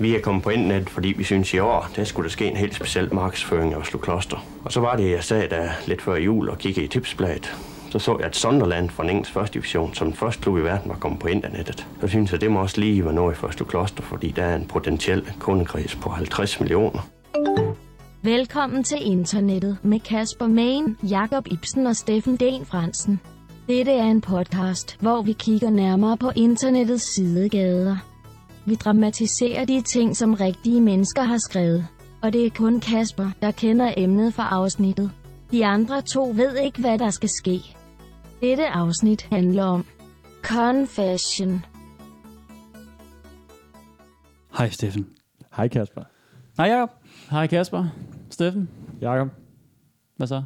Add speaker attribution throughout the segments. Speaker 1: Vi er kommet på enden af det, fordi vi synes i år, der skulle der ske en helt speciel markedsføring af Oslo Kloster. Og så var det, jeg sad der lidt før jul og kiggede i tipsbladet. Så så jeg, at Sonderland fra den engelske første division, som den første klub i verden, var kommet på internettet. Så synes jeg, det må også lige være noget i Første Kloster, fordi der er en potentiel kundekreds på 50 millioner.
Speaker 2: Velkommen til internettet med Kasper Main, Jakob Ibsen og Steffen Den Fransen. Dette er en podcast, hvor vi kigger nærmere på internettets sidegader. Vi dramatiserer de ting, som rigtige mennesker har skrevet. Og det er kun Kasper, der kender emnet for afsnittet. De andre to ved ikke, hvad der skal ske. Dette afsnit handler om Confession.
Speaker 3: Hej Steffen.
Speaker 4: Hej Kasper.
Speaker 3: Hej Jacob. Hej Kasper. Steffen,
Speaker 4: Jakob.
Speaker 3: hvad så?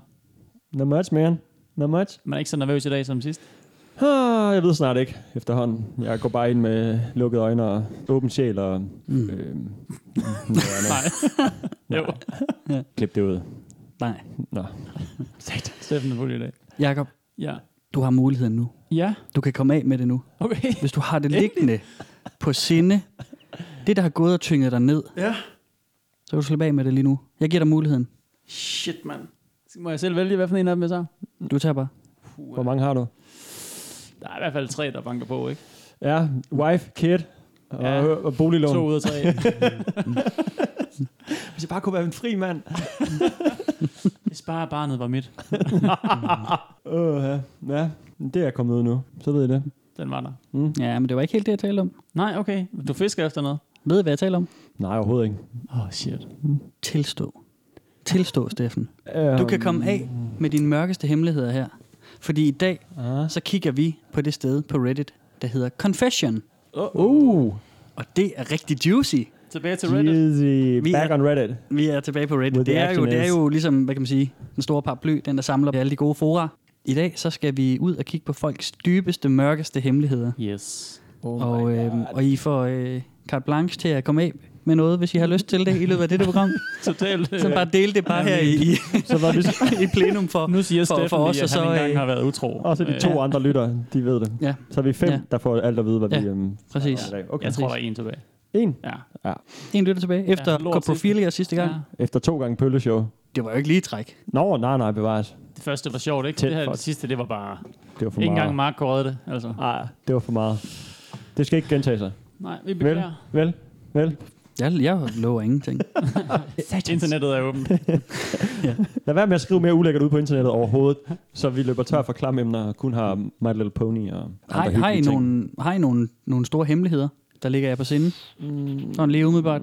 Speaker 4: No much, man. No much.
Speaker 3: Man er ikke så nervøs i dag som sidst.
Speaker 4: Ah, jeg ved snart ikke efterhånden. Jeg går bare ind med lukkede øjne og åben sjæl og... Mm. Øh,
Speaker 3: Nej. jo.
Speaker 4: klip det ud.
Speaker 3: Nej.
Speaker 4: Nå.
Speaker 3: Steffen er fuld i dag.
Speaker 5: Jakob,
Speaker 3: Ja.
Speaker 5: du har muligheden nu.
Speaker 3: Ja.
Speaker 5: Du kan komme af med det nu.
Speaker 3: Okay.
Speaker 5: Hvis du har det liggende på sinde, det der har gået og tynget dig ned,
Speaker 3: Ja.
Speaker 5: så kan du slippe af med det lige nu. Jeg giver dig muligheden.
Speaker 3: Shit, mand. Må jeg selv vælge, hvad for en af dem jeg tager?
Speaker 5: Du tager bare.
Speaker 4: Hvor mange har du?
Speaker 3: Der er i hvert fald tre, der banker på, ikke?
Speaker 4: Ja, wife, kid og,
Speaker 3: Ja.
Speaker 4: ja. og boliglån.
Speaker 3: To ud af tre.
Speaker 4: Hvis jeg bare kunne være en fri mand.
Speaker 3: Hvis bare barnet var mit.
Speaker 4: Åh, ja. ja. Det er kommet ud nu. Så ved I det.
Speaker 3: Den var der.
Speaker 4: Mm.
Speaker 5: Ja, men det var ikke helt det, jeg talte om.
Speaker 3: Nej, okay. Du fisker efter noget.
Speaker 5: Ved I, hvad jeg taler om?
Speaker 4: Nej, overhovedet ikke.
Speaker 3: Åh, oh, shit.
Speaker 5: Tilstå. Tilstå, Steffen.
Speaker 4: Um,
Speaker 5: Du kan komme af med dine mørkeste hemmeligheder her. Fordi i dag,
Speaker 4: Ah.
Speaker 5: så kigger vi på det sted på Reddit, der hedder Confession.
Speaker 4: Uh,
Speaker 5: Og det er rigtig juicy.
Speaker 3: Tilbage til Reddit.
Speaker 4: Reddit.
Speaker 5: Vi
Speaker 4: Back
Speaker 5: er-
Speaker 4: on Reddit.
Speaker 5: Vi er tilbage på Reddit. Det
Speaker 4: With the
Speaker 5: er, jo,
Speaker 4: action
Speaker 5: det er
Speaker 4: is.
Speaker 5: jo ligesom, hvad kan man sige, den store paraply, den der samler alle de gode fora. I dag så skal vi ud og kigge på folks dybeste, mørkeste hemmeligheder.
Speaker 3: Yes.
Speaker 4: Oh
Speaker 5: og, øh, og I får øh, carte blanche til at komme af med noget, hvis I har lyst til det i løbet af dette program.
Speaker 3: Totalt. øh,
Speaker 5: Så bare del det bare her i, i,
Speaker 4: Så var det,
Speaker 5: i plenum for.
Speaker 3: Nu siger
Speaker 5: for-
Speaker 3: Steffen,
Speaker 5: for os,
Speaker 3: lige,
Speaker 5: og
Speaker 3: at han
Speaker 5: så,
Speaker 3: engang
Speaker 5: øh,
Speaker 3: har været utro. Øh,
Speaker 4: og så de to andre lyttere, de ved det.
Speaker 5: Ja,
Speaker 4: Så er vi fem,
Speaker 5: Ja.
Speaker 4: ja. der får alt at vide, hvad vi...
Speaker 5: Ja.
Speaker 4: Øhm,
Speaker 5: præcis.
Speaker 4: i dag. okay.
Speaker 3: Jeg tror, der er en tilbage.
Speaker 4: En.
Speaker 3: Ja.
Speaker 5: En lytter tilbage efter
Speaker 3: Ja,
Speaker 5: ja,
Speaker 3: lort
Speaker 5: Coprofilia sidste gang.
Speaker 3: ja.
Speaker 4: Efter to gange pølleshow.
Speaker 5: Det var jo ikke lige træk.
Speaker 4: Nå, nej, nej, bevares.
Speaker 3: Det første var sjovt, ikke?
Speaker 4: Tæt
Speaker 3: det her,
Speaker 4: for-
Speaker 3: det sidste, det var bare...
Speaker 4: Det var for
Speaker 3: Ikke
Speaker 4: meget. Ah.
Speaker 3: engang Mark kårede det, altså.
Speaker 4: Nej, det var for meget. Det skal ikke gentage sig.
Speaker 3: Nej, vi
Speaker 4: Vel,
Speaker 3: beklager.
Speaker 4: vel, vel.
Speaker 5: Jeg, jeg lover ingenting.
Speaker 3: Internettet er åbent.
Speaker 4: Lad være med at skrive mere ulækkert ud på internettet overhovedet, så vi løber tør for klamemner og kun har My Little Pony og
Speaker 5: Har, har, I nogle, har I nogle, nogle store hemmeligheder, der ligger jeg på sinde?
Speaker 3: Mm.
Speaker 5: Sådan lige umiddelbart.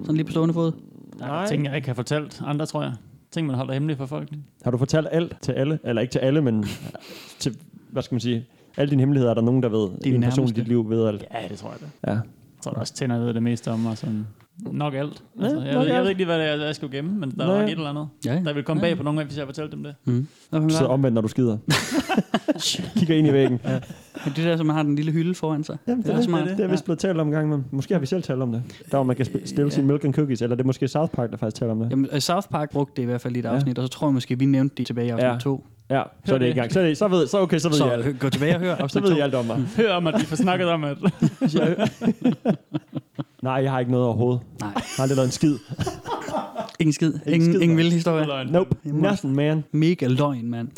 Speaker 5: Sådan lige på stående fod.
Speaker 3: Der er
Speaker 4: Nej.
Speaker 3: ting, jeg ikke har fortalt andre, tror jeg. Ting, man holder hemmeligt for folk.
Speaker 4: Har du fortalt alt til alle? Eller ikke til alle, men til, hvad skal man sige, alle dine hemmeligheder er der nogen, der ved.
Speaker 5: Dine
Speaker 4: en person i
Speaker 5: nærmeste.
Speaker 4: dit liv ved alt.
Speaker 3: Ja, det tror jeg da.
Speaker 4: Ja.
Speaker 3: Jeg tror da også, tænder ved det meste om mig. Sådan. Nok alt.
Speaker 4: Ja,
Speaker 3: Altså,
Speaker 4: nok
Speaker 3: jeg, ved, jeg ved
Speaker 4: alt.
Speaker 3: ikke lige, hvad det er, jeg skulle gemme, men der er
Speaker 4: Nej.
Speaker 3: nok et eller andet.
Speaker 5: Ja, ja.
Speaker 3: Der vil komme bag på nogen af, hvis jeg fortæller dem det.
Speaker 5: Mm. Nå, men
Speaker 4: Du sidder
Speaker 5: hvad-
Speaker 4: omvendt, når du skider. Kigger ind i væggen.
Speaker 5: Men det der, som har den lille hylde foran sig.
Speaker 4: Jamen, det,
Speaker 5: er
Speaker 4: er det,
Speaker 5: smart.
Speaker 4: smart. det er vist blevet talt om en gang, men måske har vi selv talt om det. Der hvor man kan sp- stille sine milk and cookies, eller det er måske South Park, der faktisk taler om det.
Speaker 5: Jamen, øh, South Park brugte det i hvert fald i et
Speaker 4: Ja.
Speaker 5: afsnit, ja. og så tror jeg måske, vi nævnte det tilbage i afsnit
Speaker 4: Ja.
Speaker 5: 2.
Speaker 4: Ja, så er det i gang. Så, er det, så, ved, så okay, så ved
Speaker 5: Så
Speaker 4: jeg alt.
Speaker 5: hø- gå tilbage og hør
Speaker 4: Så
Speaker 5: afsnit 2.
Speaker 4: ved jeg alt om mig.
Speaker 3: Hør om, at vi får snakket om, at
Speaker 4: Hvis jeg- Nej, jeg har ikke noget overhovedet.
Speaker 5: Nej,
Speaker 4: Jeg har aldrig lavet en skid.
Speaker 5: ingen skid. Ingen,
Speaker 4: skid,
Speaker 5: ingen, ingen
Speaker 4: mand.
Speaker 5: vild historie.
Speaker 3: løgn.
Speaker 4: Nope. Nothing, man.
Speaker 5: Mega løgn, mand.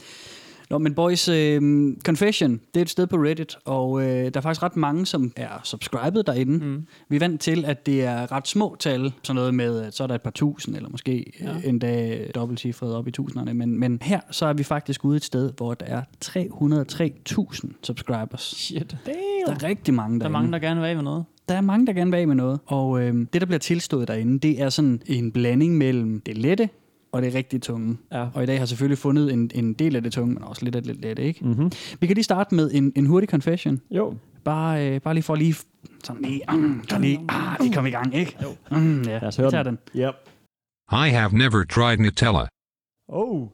Speaker 5: Nå, men boys, øh, Confession, det er et sted på Reddit, og øh, der er faktisk ret mange, som er subscribet derinde. Mm. Vi er vant til, at det er ret små tal, sådan noget med, at så er der et par tusind, eller måske ja. endda øh, dobbeltcifret op i tusinderne, men, men her, så er vi faktisk ude et sted, hvor der er 303.000 subscribers.
Speaker 3: shit.
Speaker 5: Der er rigtig mange
Speaker 3: Der
Speaker 5: derinde.
Speaker 3: er mange, der gerne vil af med noget.
Speaker 5: Der er mange, der gerne vil af med noget, og øh, det, der bliver tilstået derinde, det er sådan en blanding mellem det lette og det rigtig tunge.
Speaker 4: Ja.
Speaker 5: Og i dag har jeg selvfølgelig fundet en, en del af det tunge, men også lidt af det lette, ikke? Mm-hmm. Vi kan lige starte med en, en hurtig confession.
Speaker 4: Jo.
Speaker 5: Bare, øh, bare lige for lige sådan lige, mm, sådan lige, ah, vi kom i gang, ikke? Jo. Mm, ja,
Speaker 4: Lad os
Speaker 5: vi
Speaker 4: høre
Speaker 5: tager den.
Speaker 4: Yep.
Speaker 6: I have never tried Nutella.
Speaker 4: Oh.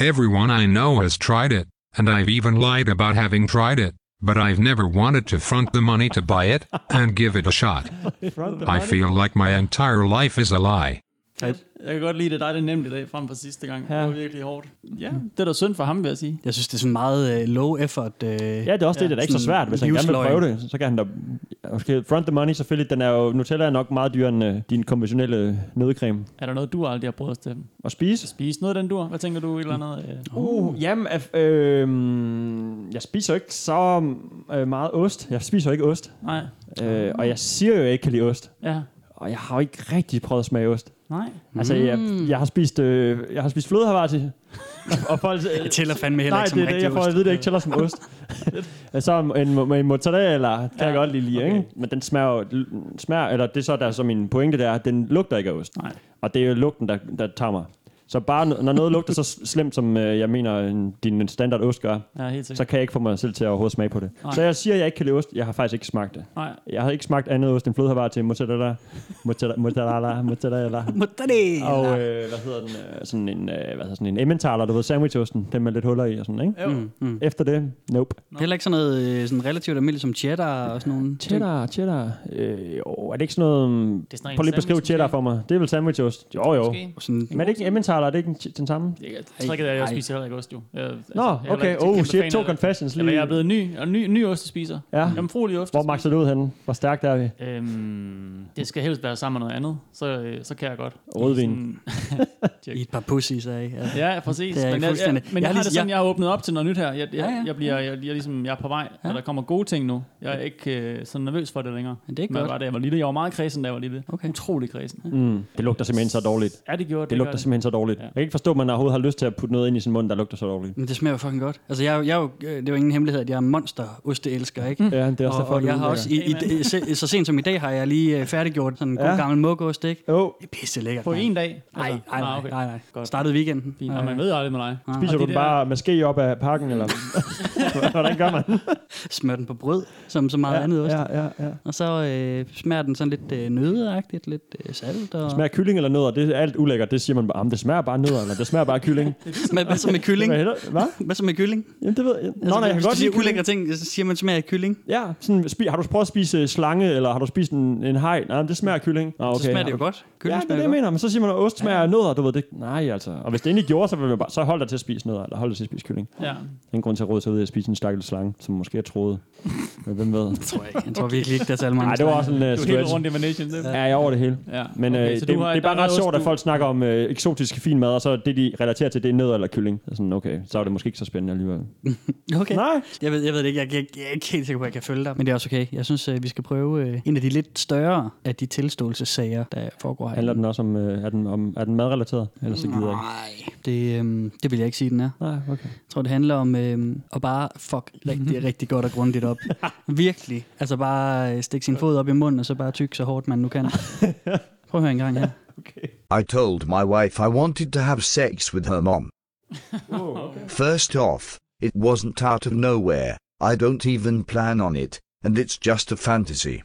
Speaker 6: Everyone I know has tried it, and I've even lied about having tried it, but I've never wanted to front the money to buy it and give it a shot.
Speaker 4: Front the
Speaker 6: I
Speaker 4: money.
Speaker 6: feel like my entire life is a lie.
Speaker 3: Jeg kan godt lide det. Der er det nemt i dag, frem for sidste gang. Ja. Det var virkelig hårdt. Ja, det er da synd for ham, vil jeg sige.
Speaker 5: Jeg synes, det er sådan meget øh, low effort. Øh,
Speaker 4: Ja, det er også ja, det, det er da ikke så
Speaker 5: sådan
Speaker 4: svært. Hvis han gerne vil
Speaker 5: livsløgn.
Speaker 4: prøve det, så kan han da... ja, Måske front the money selvfølgelig. Den er jo, Nutella er nok meget dyrere end øh, din konventionelle nødecreme
Speaker 3: Er der noget, du aldrig har prøvet at stemme?
Speaker 4: at spise.
Speaker 3: Spise noget af den dur? Hvad tænker du? Et eller andet? Øh?
Speaker 4: Uh, jamen, øh, jeg spiser jo ikke så øh, meget ost. Jeg spiser jo ikke ost.
Speaker 3: Nej.
Speaker 4: Øh, og jeg siger jo, at jeg ikke kan lide ost.
Speaker 3: Ja.
Speaker 4: Og jeg har jo ikke rigtig prøvet at smage ost.
Speaker 3: Nej.
Speaker 4: Altså,
Speaker 5: Mm.
Speaker 4: jeg, jeg har spist, øh, jeg har spist flødehavarti. Og- og folk, øh,
Speaker 5: Det tæller fandme heller
Speaker 4: nej,
Speaker 5: ikke som
Speaker 4: det er det, jeg
Speaker 5: rigtig
Speaker 4: får at
Speaker 5: ost.
Speaker 4: vide, det ikke tæller som ost. så en, mo- med en mozzarella kan ja, jeg godt lige lide,
Speaker 3: okay.
Speaker 4: okay. ikke? Men den smager, jo- l- smager, eller det er så, der er så min pointe, der er, at den lugter ikke af ost.
Speaker 3: Nej.
Speaker 4: Og det er jo lugten, der, der tager mig. Så bare, n- når noget lugter så s- slemt, som øh, jeg mener, en- din standard ost gør,
Speaker 3: Ja, helt
Speaker 4: så
Speaker 3: sikkert.
Speaker 4: kan jeg ikke få mig selv til at overhovedet smage på det.
Speaker 3: Nej.
Speaker 4: Så jeg siger, at jeg ikke kan lide ost. Jeg har faktisk ikke smagt det.
Speaker 3: Nej.
Speaker 4: Jeg har ikke smagt andet ost end flødehavar til mozzarella, mozzarella, mozzarella, mozzarella.
Speaker 5: Mozzarella.
Speaker 4: Og øh, hvad hedder den? Øh, sådan en, øh, hvad hedder sådan en emmentaler, du ved, sandwichosten, den med lidt huller i og sådan, ikke?
Speaker 3: Jo.
Speaker 5: Mm, mm.
Speaker 4: Efter det, nope.
Speaker 5: Heller ikke sådan noget øh, sådan relativt almindeligt som cheddar og sådan nogle ting.
Speaker 4: Cheddar, cheddar. Øh, jo, er det ikke sådan noget... mm,
Speaker 3: Det er sådan en
Speaker 4: Prøv lige at beskrive
Speaker 3: sandwich,
Speaker 4: cheddar
Speaker 3: måske?
Speaker 4: for mig. Det er vel sandwichost? Jo, jo.
Speaker 3: Måske.
Speaker 5: Sådan,
Speaker 4: Men er det ikke en emmentaler? Er det ikke en ch- den samme?
Speaker 3: Jeg trækker det, jeg
Speaker 5: Ej.
Speaker 3: spiser heller ikke ost, jo. Jeg, altså,
Speaker 4: Nå,
Speaker 3: jeg er heller
Speaker 4: okay.
Speaker 3: ikke så
Speaker 4: Oh,
Speaker 3: kæmpe
Speaker 4: shit,
Speaker 3: fan
Speaker 4: to
Speaker 3: af det.
Speaker 4: confessions
Speaker 3: Jamen,
Speaker 4: lige.
Speaker 3: jeg er blevet ny, og ny, ny ostespiser.
Speaker 4: Ja.
Speaker 3: Jamen, frolig ost.
Speaker 4: Hvor makser du ud henne? Hvor stærkt er vi?
Speaker 3: Øhm, det skal helst være sammen med noget andet, så, øh, så kan jeg godt.
Speaker 4: Rødvin.
Speaker 3: Sådan-
Speaker 5: I et par pussies af. Ja.
Speaker 3: Ja, præcis.
Speaker 5: Det er jeg
Speaker 3: men jeg, jeg,
Speaker 5: fuldstændig.
Speaker 3: men jeg,
Speaker 5: Jeg har
Speaker 3: jeg har det
Speaker 5: lige-
Speaker 3: sådan, jeg har åbnet op til noget nyt her. Jeg, jeg,
Speaker 5: Ja,
Speaker 3: ja,
Speaker 5: ja.
Speaker 3: ja. jeg bliver jeg, jeg, er ligesom, jeg er på vej, ja. og der kommer gode ting nu. Jeg er ikke øh, så nervøs for det længere.
Speaker 5: Men det er
Speaker 3: Men jeg
Speaker 5: godt.
Speaker 3: var, da jeg var lille. Jeg var meget kredsen, da jeg var lille.
Speaker 5: Okay.
Speaker 3: Utrolig kredsen.
Speaker 4: Mm, det lugter simpelthen så dårligt.
Speaker 3: Ja, det gjorde det.
Speaker 4: Det lugter
Speaker 3: gør
Speaker 4: simpelthen så dårligt.
Speaker 3: Ja.
Speaker 4: Jeg kan ikke forstå, at man overhovedet har lyst til at putte noget ind i sin mund, der lugter så dårligt.
Speaker 5: Men det smager jo fucking godt. Altså, jeg, er jo- jeg, er jo- øh, det er jo ingen hemmelighed, at jeg er monster osteelsker, ikke?
Speaker 4: Ja, det er også
Speaker 5: og,
Speaker 4: derfor,
Speaker 5: og
Speaker 4: det
Speaker 5: jeg har også, i, i, i, se- så sent som i dag har jeg lige øh, færdiggjort sådan en god
Speaker 4: Ja.
Speaker 5: gammel mukost, ikke?
Speaker 4: Jo,
Speaker 5: Det er pisse lækkert.
Speaker 3: På
Speaker 5: mand.
Speaker 3: en dag?
Speaker 5: Nej,
Speaker 3: Altså,
Speaker 5: nej, nej,
Speaker 3: okay.
Speaker 5: nej, nej.
Speaker 3: Godt.
Speaker 5: Startede weekenden.
Speaker 3: Fint. Og man ved aldrig med dig.
Speaker 5: Nej.
Speaker 4: spiser
Speaker 3: Og
Speaker 4: du
Speaker 3: de
Speaker 4: den
Speaker 3: ah, der-
Speaker 4: bare med ske op af pakken, eller hvordan gør man?
Speaker 5: Smør den på brød, som så meget ja, andet også. Ja.
Speaker 4: ja, ja.
Speaker 5: Og så øh, smager den sådan lidt øh, nødeagtigt, lidt øh, salt. Og...
Speaker 4: Smager kylling eller nødder, det er alt ulækkert. Det siger man bare, "Jamen, det smager bare nødder, eller det smager bare kylling.
Speaker 5: Hvad, hvad så med kylling?
Speaker 4: Hvad? heller- Hvad?
Speaker 5: Hvad så med kylling? Altså,
Speaker 4: Jamen, det ved jeg. Nå, nej, jeg kan
Speaker 5: hvis
Speaker 4: godt
Speaker 5: du siger
Speaker 4: lide kylling.
Speaker 5: ulækre ting, så siger man, smager af kylling.
Speaker 4: Ja, sådan, spi- har du prøvet at spise øh, slange, eller har du spist en, en hej? Nej, men det smager af kylling. Nå, okay.
Speaker 5: Så smager det jo godt.
Speaker 4: Ja,
Speaker 5: Kylling
Speaker 4: det er det,
Speaker 5: smager
Speaker 4: jeg
Speaker 5: godt.
Speaker 4: mener. Men så siger man, at ost smager af nødder, du ved det. Nej, altså. Og hvis det endelig gjorde, så ville man bare, så hold dig til at spise nødder, eller hold dig til at spise kylling.
Speaker 3: Ja.
Speaker 4: Det er en grund til at råde sig ud af at spise en stakkels slange, som måske jeg troede. Men hvem ved?
Speaker 5: tror jeg ikke. Jeg tror virkelig ikke, der er særlig mange.
Speaker 4: Nej, det var også en uh,
Speaker 3: Du er helt
Speaker 4: stretch.
Speaker 3: rundt i managen. Det.
Speaker 4: Ja, jeg er over det hele.
Speaker 3: Ja.
Speaker 4: Men okay, øh, det, det, er bare ret sjovt, at folk snakker om øh, eksotiske fin mad, og så det, de relaterer til, det er nødder eller kylling. Og Sådan, okay, så er det måske ikke så spændende alligevel.
Speaker 5: Okay.
Speaker 4: Nej.
Speaker 5: Jeg ved, jeg ved det ikke. Jeg, jeg, jeg er ikke helt sikker på, at jeg kan følge dig. Men det er også okay. Jeg synes, øh, vi skal prøve øh, en af de lidt større af de tilståelsessager, der foregår her.
Speaker 4: Handler den også om, øh, er, den, om er den madrelateret? Ellers det gider jeg ikke.
Speaker 5: Nej, det, øh, det vil jeg ikke sige, den er.
Speaker 4: Nej, okay.
Speaker 5: Jeg tror, det handler om øh, at bare fuck rigtig, rigtig godt og grundigt op. Virkelig. Altså bare øh, stikke sin fod op i munden, og så bare tykke så hårdt, man nu kan. Prøv at høre en gang her.
Speaker 7: I told my wife I wanted to have sex with her mom. First off, it wasn't out of nowhere, I don't even plan on it, and it's just a fantasy.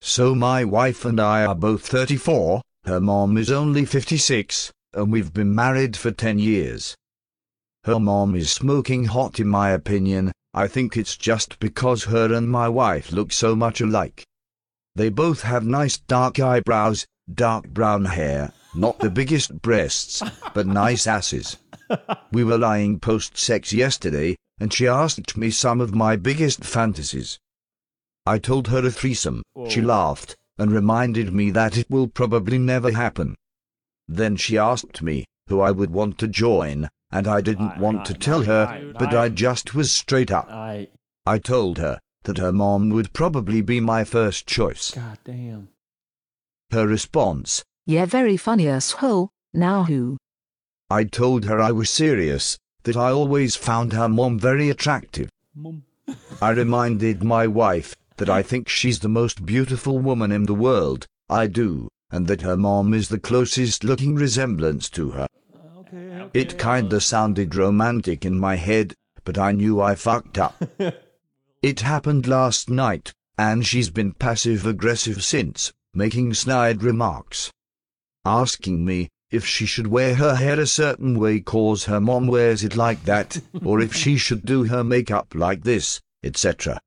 Speaker 7: So my wife and I are both 34, her mom is only 56, and we've been married for 10 years. Her mom is smoking hot in my opinion, I think it's just because her and my wife look so much alike. They both have nice dark eyebrows, dark brown hair, not the biggest breasts, but nice asses. We were lying post sex yesterday, and she asked me some of my biggest fantasies. I told her a threesome, she laughed, and reminded me that it will probably never happen. Then she asked me who I would want to join, and I didn't want to tell her, but I just was straight up.
Speaker 4: Nej.
Speaker 7: I told her that her mom would probably be my first choice.
Speaker 4: God damn.
Speaker 7: Her response
Speaker 8: Yeah, very funny asshole. Now who?
Speaker 7: I told her I was serious, that I always found her mom very attractive.
Speaker 3: Mum.
Speaker 7: I reminded my wife that I think she's the most beautiful woman in the world, I do, and that her mom is the closest looking resemblance to her. It kinda sounded romantic in my head, but I knew I fucked up. it happened last night, and she's been passive aggressive since, making snide remarks. Asking me if she should wear her hair a certain way cause her mom wears it like that, or if she should do her makeup like this, etc.